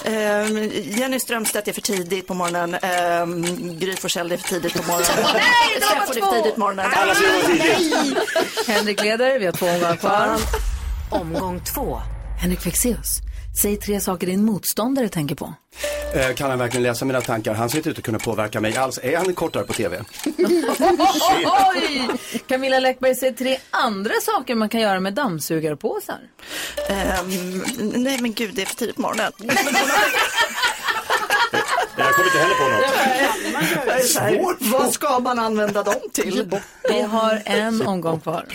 [SPEAKER 13] Ehm, Jenny Strömstedt är för tidigt på morgonen. Um, Gry Forssell är för tidigt på morgonen.
[SPEAKER 1] Nej, de var
[SPEAKER 13] Steffo är
[SPEAKER 1] två!
[SPEAKER 13] för tidigt på morgonen.
[SPEAKER 1] Alla ska vara tidigt. Henrik leder, vi har två omgångar kvar.
[SPEAKER 15] Omgång två.
[SPEAKER 1] Henrik Fexeus, säg tre saker din motståndare tänker på.
[SPEAKER 14] Eh, Kan han verkligen läsa mina tankar? Han ser inte ut att kunna påverka mig alls. Är han kortare på tv?
[SPEAKER 1] Oj! Camilla Läckberg, säg tre andra saker man kan göra med dammsugarpåsar.
[SPEAKER 13] Ehm, nej men gud, det är för tidigt på *laughs* morgonen.
[SPEAKER 3] Jag kommer inte heller på något.
[SPEAKER 13] Jag är så här, Vad ska man använda dem till?
[SPEAKER 1] Vi har en omgång kvar.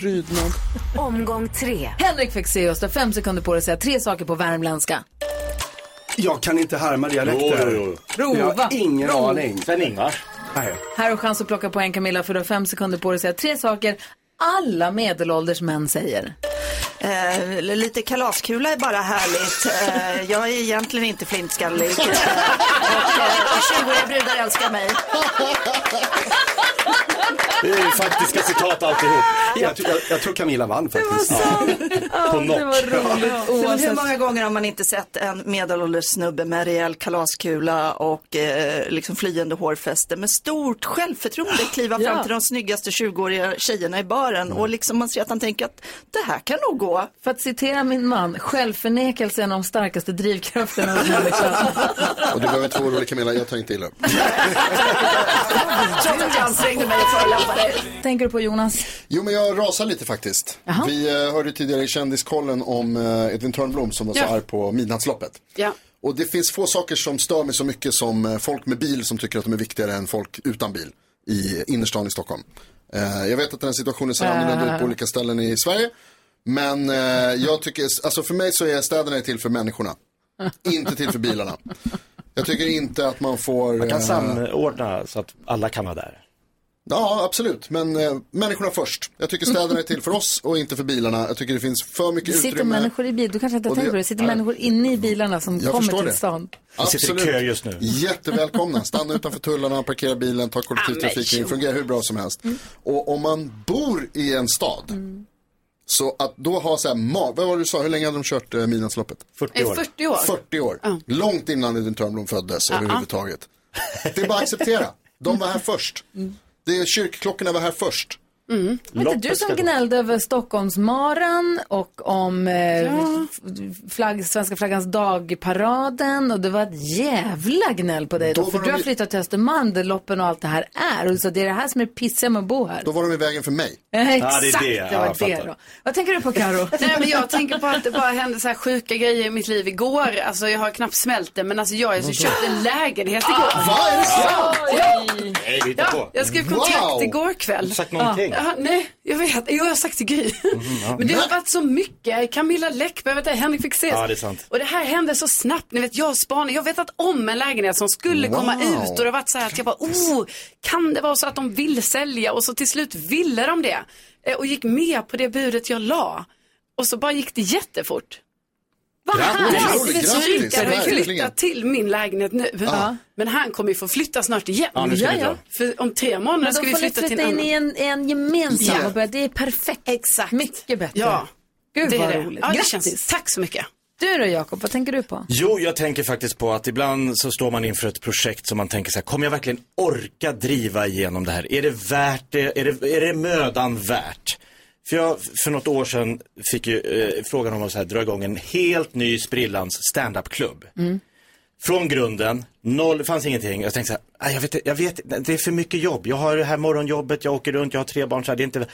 [SPEAKER 15] Omgång tre.
[SPEAKER 1] Henrik Fexeus, du har fem sekunder på dig att säga tre saker på värmländska.
[SPEAKER 14] Jag kan inte härma dialekter.
[SPEAKER 3] Jo, jo,
[SPEAKER 1] jo.
[SPEAKER 14] Jag
[SPEAKER 1] Prova.
[SPEAKER 14] har ingen
[SPEAKER 1] Prova.
[SPEAKER 14] aning.
[SPEAKER 3] Sven-Ingvars.
[SPEAKER 14] Nej.
[SPEAKER 1] Här har chans att plocka poäng Camilla för du har fem sekunder på dig att säga tre saker alla medelålders män säger.
[SPEAKER 13] Ehm, lite kalaskula är bara härligt. Ehm, jag är egentligen inte flintskallig. *laughs* Ehm, och, eh, 20-åriga brudar älskar mig.
[SPEAKER 3] Det är ju faktiska citat alltihop.
[SPEAKER 14] Jag, tror- jag, jag tror Camilla vann faktiskt.
[SPEAKER 3] På något.
[SPEAKER 1] Det var roligt
[SPEAKER 13] Ja, men hur
[SPEAKER 1] oavsett.
[SPEAKER 13] många gånger har man inte sett en medelålders snubbe med rejäl kalaskula och eh, liksom flyende hårfäste med stort självförtroende kliva fram
[SPEAKER 1] Ja.
[SPEAKER 13] till de snyggaste 20-åriga tjejerna i baren och liksom man ser att han tänker att det här kan nog gå.
[SPEAKER 1] För att citera min man, självförnekelse är en av de starkaste drivkrafterna hos
[SPEAKER 13] *laughs*
[SPEAKER 1] människan.
[SPEAKER 2] Och du behöver inte vara orolig Camilla, jag tar inte illa upp.
[SPEAKER 13] Trots att jag ansträngde mig att förolämpa dig.
[SPEAKER 1] Tänker du på Jonas?
[SPEAKER 2] Jo, men jag rasar lite faktiskt. Vi eh, hörde tidigare i Kändiskollen om eh, Edvin Törnblom som var så
[SPEAKER 4] Ja.
[SPEAKER 2] arg på Midnattsloppet.
[SPEAKER 4] Ja.
[SPEAKER 2] Och det finns få saker som stör mig så mycket som eh, folk med bil som tycker att de är viktigare än folk utan bil i innerstan i Stockholm. Eh, jag vet att den här situationen ser annorlunda ut
[SPEAKER 4] Ah.
[SPEAKER 2] på olika ställen i Sverige. Men eh, jag tycker, alltså för mig så är städerna till för människorna. Inte till för bilarna. Jag tycker inte att man får...
[SPEAKER 3] Man kan
[SPEAKER 2] eh,
[SPEAKER 3] samordna så att alla kan vara där.
[SPEAKER 2] Ja, absolut. Men eh, människorna först. Jag tycker städerna är till för oss och inte för bilarna. Jag tycker det finns för mycket
[SPEAKER 1] Det sitter
[SPEAKER 2] utrymme.
[SPEAKER 1] människor i bil, du kanske inte
[SPEAKER 2] Och det-
[SPEAKER 1] tänker på det, det sitter
[SPEAKER 2] Nej.
[SPEAKER 1] människor inne i bilarna som
[SPEAKER 2] Jag
[SPEAKER 1] kommer
[SPEAKER 2] förstår
[SPEAKER 1] till
[SPEAKER 2] det.
[SPEAKER 1] stan.
[SPEAKER 3] Vi sitter i
[SPEAKER 2] Absolut.
[SPEAKER 3] kö just nu.
[SPEAKER 2] Jättevälkomna. Stanna utanför tullarna, parkera bilen, ta kollektivtrafiken. Det fungerar hur bra som helst.
[SPEAKER 1] Mm.
[SPEAKER 2] Och om man bor i en stad, så att då ha så här mag... Vad var det du sa? Hur länge hade de kört eh, Midnattsloppet?
[SPEAKER 3] 40 år.
[SPEAKER 4] 40 år.
[SPEAKER 2] 40 år. Långt innan Edvin Törnblom föddes överhuvudtaget. Det är bara att acceptera. De var här först.
[SPEAKER 4] Mm.
[SPEAKER 2] Det är, kyrkklockorna var här först.
[SPEAKER 1] Var inte du
[SPEAKER 3] Loppet
[SPEAKER 1] som
[SPEAKER 3] ska gå.
[SPEAKER 1] gnällde över Stockholmsmaran och om eh, f- flagg, Svenska flaggans dag-paraden och det var ett jävla gnäll på dig då,
[SPEAKER 2] Då
[SPEAKER 1] för
[SPEAKER 2] var
[SPEAKER 1] du
[SPEAKER 2] de
[SPEAKER 1] har
[SPEAKER 2] ju-
[SPEAKER 1] flyttat till Östermalm där loppen och allt det här är och så det är det här som är det pissiga med att bo här.
[SPEAKER 2] Då var de i vägen för mig.
[SPEAKER 3] Ja,
[SPEAKER 1] Eh,
[SPEAKER 3] det är
[SPEAKER 1] Exakt,
[SPEAKER 3] det.
[SPEAKER 1] det,
[SPEAKER 3] Ja,
[SPEAKER 1] var
[SPEAKER 3] jag
[SPEAKER 1] det
[SPEAKER 3] fattar.
[SPEAKER 1] då. Vad tänker du på Karo?
[SPEAKER 4] *laughs* Nej, men jag tänker på att det bara hände så här sjuka grejer i mitt liv igår. Alltså jag har knappt smält det, men alltså jag har ju så köpt en lägenhet
[SPEAKER 3] Ah,
[SPEAKER 4] igår.
[SPEAKER 2] Vad är det sant?
[SPEAKER 3] Nej, vi hittar
[SPEAKER 4] Ja,
[SPEAKER 3] på.
[SPEAKER 4] jag skrev kontrakt
[SPEAKER 2] Wow.
[SPEAKER 4] igår
[SPEAKER 3] Har
[SPEAKER 4] kväll.
[SPEAKER 3] du sagt någonting?
[SPEAKER 4] Ja, nej, jag vet. Jo, jag har sagt till Gry.
[SPEAKER 3] Mhm,
[SPEAKER 4] Men det har varit så mycket. Camilla Läckberg, vet du, Henrik Fexeus.
[SPEAKER 3] Ja, det är sant.
[SPEAKER 4] Och det här hände så snabbt. Ni vet, jag spanar. Jag har vetat om en lägenhet som skulle
[SPEAKER 2] Wow.
[SPEAKER 4] komma ut. Och det har varit så här att jag bara, oh, kan det vara så att de vill sälja? Och så till slut ville de det. Eh, Och gick med på det budet jag la. Och så bara gick det jättefort. Vad
[SPEAKER 2] Grattis.
[SPEAKER 4] härligt!
[SPEAKER 2] Otroligt,
[SPEAKER 4] Så
[SPEAKER 2] grattis.
[SPEAKER 4] Rickard har ju
[SPEAKER 2] Verkligen.
[SPEAKER 4] flyttat till min lägenhet nu. Men han kommer ju få flytta snart igen.
[SPEAKER 3] Ja, nu ska vi dra.
[SPEAKER 4] För om tre månader
[SPEAKER 1] Men då
[SPEAKER 4] ska vi
[SPEAKER 1] får ni
[SPEAKER 4] flytta till
[SPEAKER 1] flytta
[SPEAKER 4] en
[SPEAKER 1] in
[SPEAKER 4] annan.
[SPEAKER 1] i en, en gemensam
[SPEAKER 4] Ja.
[SPEAKER 1] och börja. Det är perfekt.
[SPEAKER 4] Exakt.
[SPEAKER 1] Mycket bättre.
[SPEAKER 4] Ja,
[SPEAKER 1] Gud
[SPEAKER 4] det är
[SPEAKER 1] vad
[SPEAKER 4] det.
[SPEAKER 1] roligt.
[SPEAKER 4] Ja, det
[SPEAKER 1] Grattis.
[SPEAKER 4] känns, tack så mycket.
[SPEAKER 1] Du då Jakob, vad tänker du på?
[SPEAKER 3] Jo, jag tänker faktiskt på att ibland så står man inför ett projekt som man tänker så här, kommer jag verkligen orka driva igenom det här? Är det värt det? Är det, är det mödan värt? För jag, för något år sedan fick ju eh, frågan om att så här, dra igång en helt ny sprillans standup-klubb.
[SPEAKER 16] Mm.
[SPEAKER 3] Från grunden, noll, det fanns ingenting. Jag tänkte så här, "Aj, jag vet, jag vet, det är för mycket jobb. Jag har det här morgonjobbet, jag åker runt, jag har tre barn. Så här, det är inte...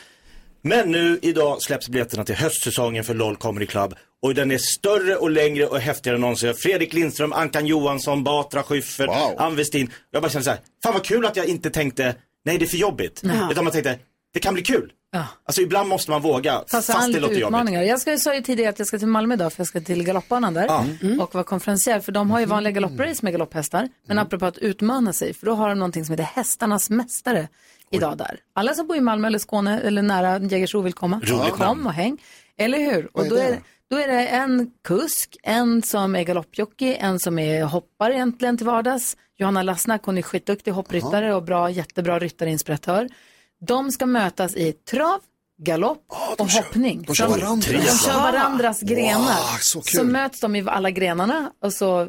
[SPEAKER 3] Men nu idag släpps biljetterna till höstsäsongen för LOL Comedy Club. Och den är större och längre och häftigare än någonsin. Fredrik Lindström, Ankan Johansson, Batra Schyffert, Ann Westin. Jag bara känner så här, fan vad kul att jag inte tänkte, nej det är för jobbigt.
[SPEAKER 1] Ja.
[SPEAKER 3] Utan man tänkte, det kan bli kul.
[SPEAKER 1] Ja.
[SPEAKER 3] Alltså ibland måste man våga,
[SPEAKER 1] Ta sig
[SPEAKER 3] fast,
[SPEAKER 1] an
[SPEAKER 3] det
[SPEAKER 1] lite
[SPEAKER 3] låter jobbigt.
[SPEAKER 1] utmaningar. Jag ska, jag sa ju tidigare att jag ska till Malmö idag för jag ska till galopparna där Mm.
[SPEAKER 3] Ja.
[SPEAKER 1] och vara konferenser för de har ju vanliga galopprace med galopphästar. Men apropå att utmana sig för då har de någonting som heter hästarnas mästare idag där. Alla som bor i Malmö eller Skåne eller nära Jägersro vill komma.
[SPEAKER 17] Roligt namn.
[SPEAKER 1] Kom och häng. Eller hur?
[SPEAKER 17] Vad
[SPEAKER 1] Och
[SPEAKER 17] är
[SPEAKER 1] då
[SPEAKER 17] det?
[SPEAKER 1] är, då är det en kusk, en som är galoppjockey, en som är hoppare egentligen till vardags. Johanna Lassnack, hon är skitduktig hoppryttare och bra, jättebra ryttarinspiratör. De ska mötas i trav, galopp och hoppning.
[SPEAKER 2] de kör
[SPEAKER 1] Så
[SPEAKER 2] varandra.
[SPEAKER 1] De kör
[SPEAKER 2] Triathlon.
[SPEAKER 1] varandras grenar.
[SPEAKER 2] Wow, så kul.
[SPEAKER 1] möts de i alla grenarna och så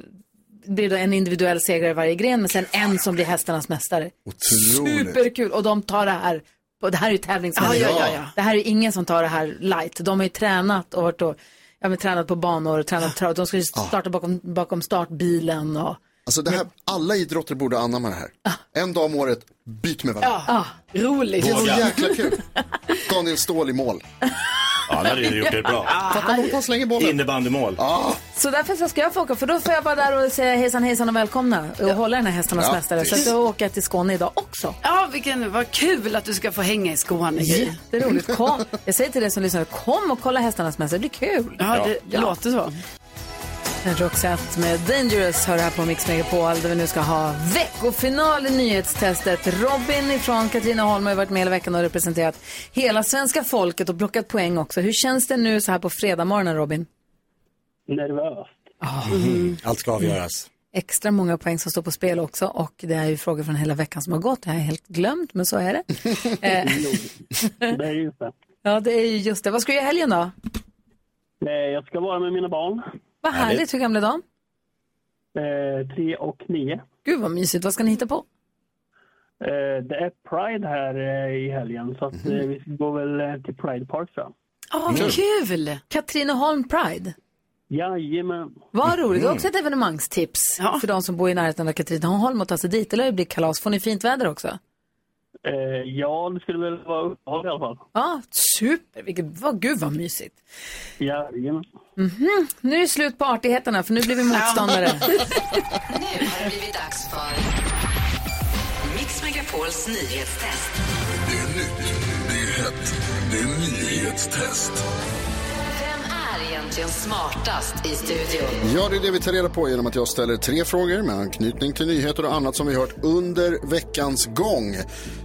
[SPEAKER 1] blir det en individuell segrare i varje gren men sen en som blir hästarnas mästare.
[SPEAKER 2] Otroligt.
[SPEAKER 1] Superkul och de tar det här, på, det här är ju tävlingsmänniskor.
[SPEAKER 2] Ja, ja, ja, ja.
[SPEAKER 1] Det här är ingen som tar det här light. De har ju tränat och varit och, ja, men, tränat på banor och tränat trav. De ska ju starta bakom, bakom startbilen och
[SPEAKER 2] Alltså det här, alla idrotter borde anamma det här.
[SPEAKER 4] Ah.
[SPEAKER 2] En dag om året, byt med varandra.
[SPEAKER 1] ja. roligt.
[SPEAKER 2] Det är så jäkla
[SPEAKER 4] *laughs*
[SPEAKER 2] kul. Daniel Ståhl i mål.
[SPEAKER 3] Ja, där hade du gjort det *laughs* bra.
[SPEAKER 4] Ah,
[SPEAKER 2] Fattar du? De slänger bollen.
[SPEAKER 3] Innebandymål.
[SPEAKER 2] Ja.
[SPEAKER 1] Så därför så ska jag få åka, för då får jag vara där och säga hejsan hejsan och välkomna och hålla den här hästarnas
[SPEAKER 4] Ja,
[SPEAKER 1] mästare. Så
[SPEAKER 4] precis.
[SPEAKER 1] att då åker jag till Skåne idag också.
[SPEAKER 4] Ja, vilken, vad kul att du ska få hänga i
[SPEAKER 3] Mm.
[SPEAKER 4] Skåne. Gry.
[SPEAKER 1] Jätteroligt. Kom, jag säger till dig som lyssnar, kom och kolla hästarnas mästare, det blir kul.
[SPEAKER 4] Ja, det låter så.
[SPEAKER 1] Roxette med Dangerous hör här på Mix Megapol där vi nu ska ha veckofinal i nyhetstestet. Robin ifrån Katrineholm har ju varit med hela veckan och representerat hela svenska folket och plockat poäng också. Hur känns det nu så här på fredag morgonen, Robin?
[SPEAKER 18] Nervöst.
[SPEAKER 3] Mhm. Allt ska avgöras.
[SPEAKER 1] extra många poäng som står på spel också och det är ju frågor från hela veckan som har gått. Det har jag helt glömt, men så är det. Eh,
[SPEAKER 18] Det är ju så.
[SPEAKER 1] ja, det är ju just det. Vad ska du göra i helgen då?
[SPEAKER 18] Eh, Jag ska vara med mina barn,
[SPEAKER 1] Vad
[SPEAKER 18] Härligt.
[SPEAKER 1] härligt. Hur gamla är de?
[SPEAKER 18] eh, tre och nio.
[SPEAKER 1] Gud vad mysigt. Vad ska ni hitta på?
[SPEAKER 18] Eh, Det är Pride här eh, i helgen, så
[SPEAKER 3] Mhm.
[SPEAKER 18] att eh, vi går väl eh, till Pride Park tror jag.
[SPEAKER 1] Åh,
[SPEAKER 18] Mm.
[SPEAKER 1] kul! Katrineholm Pride.
[SPEAKER 18] Jajamän.
[SPEAKER 1] Vad roligt. Det är också ett evenemangstips för de som bor i närheten av Katrineholm och tar sig dit. Det lär ju bli kalas. Får ni fint väder också?
[SPEAKER 18] Eh, Ja, det skulle väl vara uppehåll i alla fall.
[SPEAKER 1] Ja, super. Vilket, vad, gud vad mysigt.
[SPEAKER 18] Jajamän.
[SPEAKER 1] Mhm. Nu är det slut på artigheterna för nu blir vi motståndare.
[SPEAKER 5] Nu har det blivit dags för Mix Megapols nyhetstest.
[SPEAKER 19] Det är nytt, det är hett, det är nyhetstest.
[SPEAKER 5] Vem är egentligen smartast i studion?
[SPEAKER 2] Ja, det är det vi tar reda på genom att jag ställer tre frågor med anknytning till nyheter och annat som vi hört under veckans gång.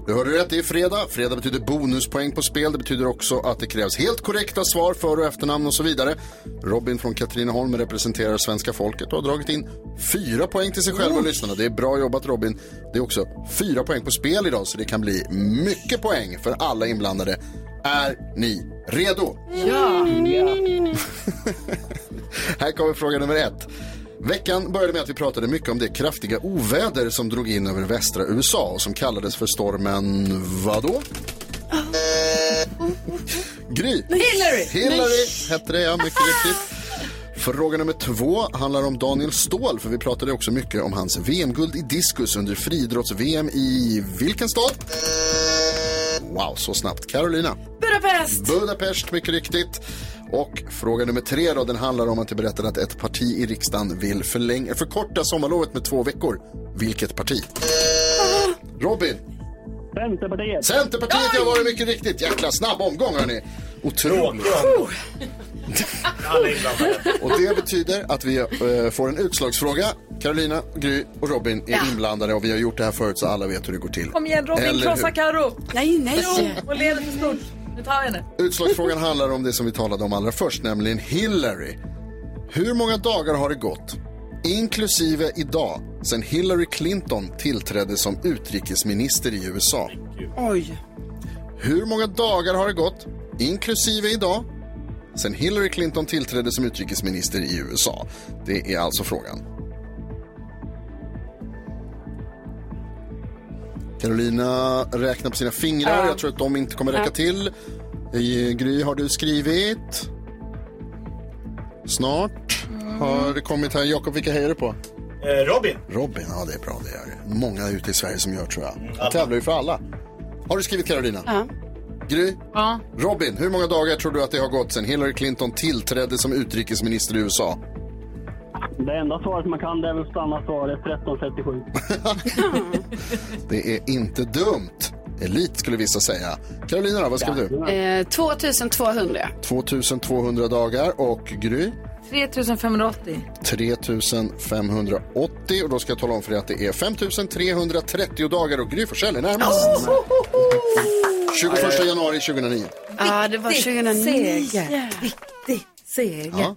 [SPEAKER 2] Du hörde rätt, det är fredag. Fredag betyder bonuspoäng på spel. Det betyder också att det krävs helt korrekta svar, för och efternamn och så vidare. Robin från Katrineholm representerar svenska folket och har dragit in fyra poäng till sig själv och lyssnarna. Det är bra jobbat Robin. Det är också fyra poäng på spel idag, så det kan bli mycket poäng för alla inblandade. Är ni redo?
[SPEAKER 1] Ja.
[SPEAKER 2] Här kommer fråga nummer ett. Veckan började med att vi pratade mycket om det kraftiga oväder som drog in över västra USA och som kallades för stormen vadå? Gry.
[SPEAKER 1] Hillary.
[SPEAKER 2] Hillary hette det, ja, mycket riktigt. Fråga nummer två handlar om Daniel Ståhl, för vi pratade också mycket om hans VM-guld i diskus under friidrotts-VM i vilken stad? Wow, så snabbt. Carolina.
[SPEAKER 4] Budapest!
[SPEAKER 2] Budapest, mycket riktigt. Och fråga nummer tre då, den handlar om att jag berättade att ett parti i riksdagen vill förlänga, förkorta sommarlovet med två veckor. Vilket parti? Robin.
[SPEAKER 18] Centerpartiet.
[SPEAKER 2] Centerpartiet, ja var det mycket riktigt. Jäkla snabb omgång hörni. Otroligt. *laughs* Och det betyder att vi eh, får en utslagsfråga. Carolina, Gry och Robin är inblandade och vi har gjort det här förut så alla vet hur det går till.
[SPEAKER 1] Kom igen Robin,
[SPEAKER 2] Eller
[SPEAKER 1] krossa
[SPEAKER 2] hur?
[SPEAKER 1] Karo.
[SPEAKER 4] Nej,
[SPEAKER 1] nej. Och leder för stort. Nu tar vi henne.
[SPEAKER 2] Utslagsfrågan handlar om det som vi talade om allra först, nämligen Hillary. Hur många dagar har det gått, inklusive idag, sedan Hillary Clinton tillträdde som utrikesminister i USA?
[SPEAKER 4] Oj.
[SPEAKER 2] Hur många dagar har det gått, inklusive idag, sen Hillary Clinton tillträdde som utrikesminister i USA? Det är alltså frågan. Carolina räknar på sina fingrar. Jag tror att de inte kommer räcka till. I Eh, Gry har du skrivit. Snart har det kommit här. Jakob, vilka hejar du på?
[SPEAKER 3] Robin.
[SPEAKER 2] Robin, ja det är bra det är. Många ute i Sverige som gör tror jag. Jag tävlar ju för alla. Har du skrivit Carolina?
[SPEAKER 4] Ja.
[SPEAKER 2] Gry?
[SPEAKER 1] Ja.
[SPEAKER 2] Robin, hur många dagar tror du att det har gått sedan Hillary Clinton tillträdde som utrikesminister i USA?
[SPEAKER 18] Det enda svaret man kan det är väl stanna svaret 1337.
[SPEAKER 2] Det är inte dumt. Elit skulle vissa säga. Carolina då, vad skrev du?
[SPEAKER 4] Eh, 2200.
[SPEAKER 2] 2200 dagar och Gry?
[SPEAKER 1] 3580.
[SPEAKER 2] 3580 och då ska jag tala om för er att det är 5330 dagar och Gry Forssell är närmast. 21 januari 2009.
[SPEAKER 4] Ja, det var 2009.
[SPEAKER 1] Seger. Viktig seger.
[SPEAKER 2] Ja.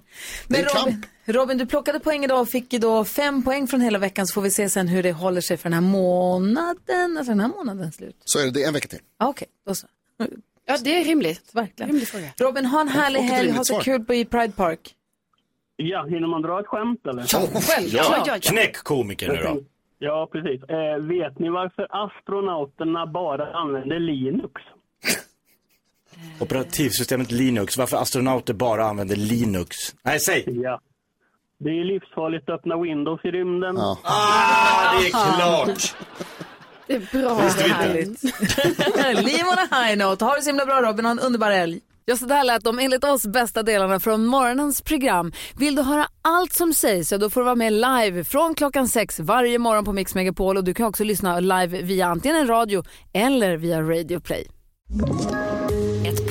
[SPEAKER 2] Det
[SPEAKER 1] Men
[SPEAKER 2] är
[SPEAKER 1] Robin, Robin, du plockade poäng idag och fick ju då fem poäng från hela veckan så får vi se sen hur det håller sig för den här månaden, alltså den här månaden slut.
[SPEAKER 2] Så är det, det är en vecka till.
[SPEAKER 1] Ja, Okej, då så.
[SPEAKER 4] Ja, det är rimligt.
[SPEAKER 1] Verkligen. Robin, ha en härlig
[SPEAKER 18] Och ett
[SPEAKER 1] helg.
[SPEAKER 18] rimligt
[SPEAKER 1] Ha så
[SPEAKER 18] svar.
[SPEAKER 1] kul på i Pride Park. *laughs*
[SPEAKER 18] Ja, hinner man dra ett skämt eller?
[SPEAKER 3] Knäck komiker nu då.
[SPEAKER 18] Ja, precis. Eh, vet ni varför astronauterna bara använder Linux?
[SPEAKER 3] Operativsystemet Linux. Varför astronauter bara använder Linux? Nej, säg.
[SPEAKER 18] Ja. Det är ju livsfarligt att öppna Windows i rymden.
[SPEAKER 3] Ah, det är klart.
[SPEAKER 4] Det är bra.
[SPEAKER 18] Visste vi inte.
[SPEAKER 1] Härligt. Liv on a high note. Ha det så himla bra Robin, ha en underbar helg.
[SPEAKER 16] Ja, så där lät de enligt oss bästa delarna från morgonens program. Vill du höra allt som sägs så då får du vara med live från klockan sex varje morgon på Mix Megapol och du kan också lyssna live via antingen en radio eller via Radio Play.
[SPEAKER 15] Ett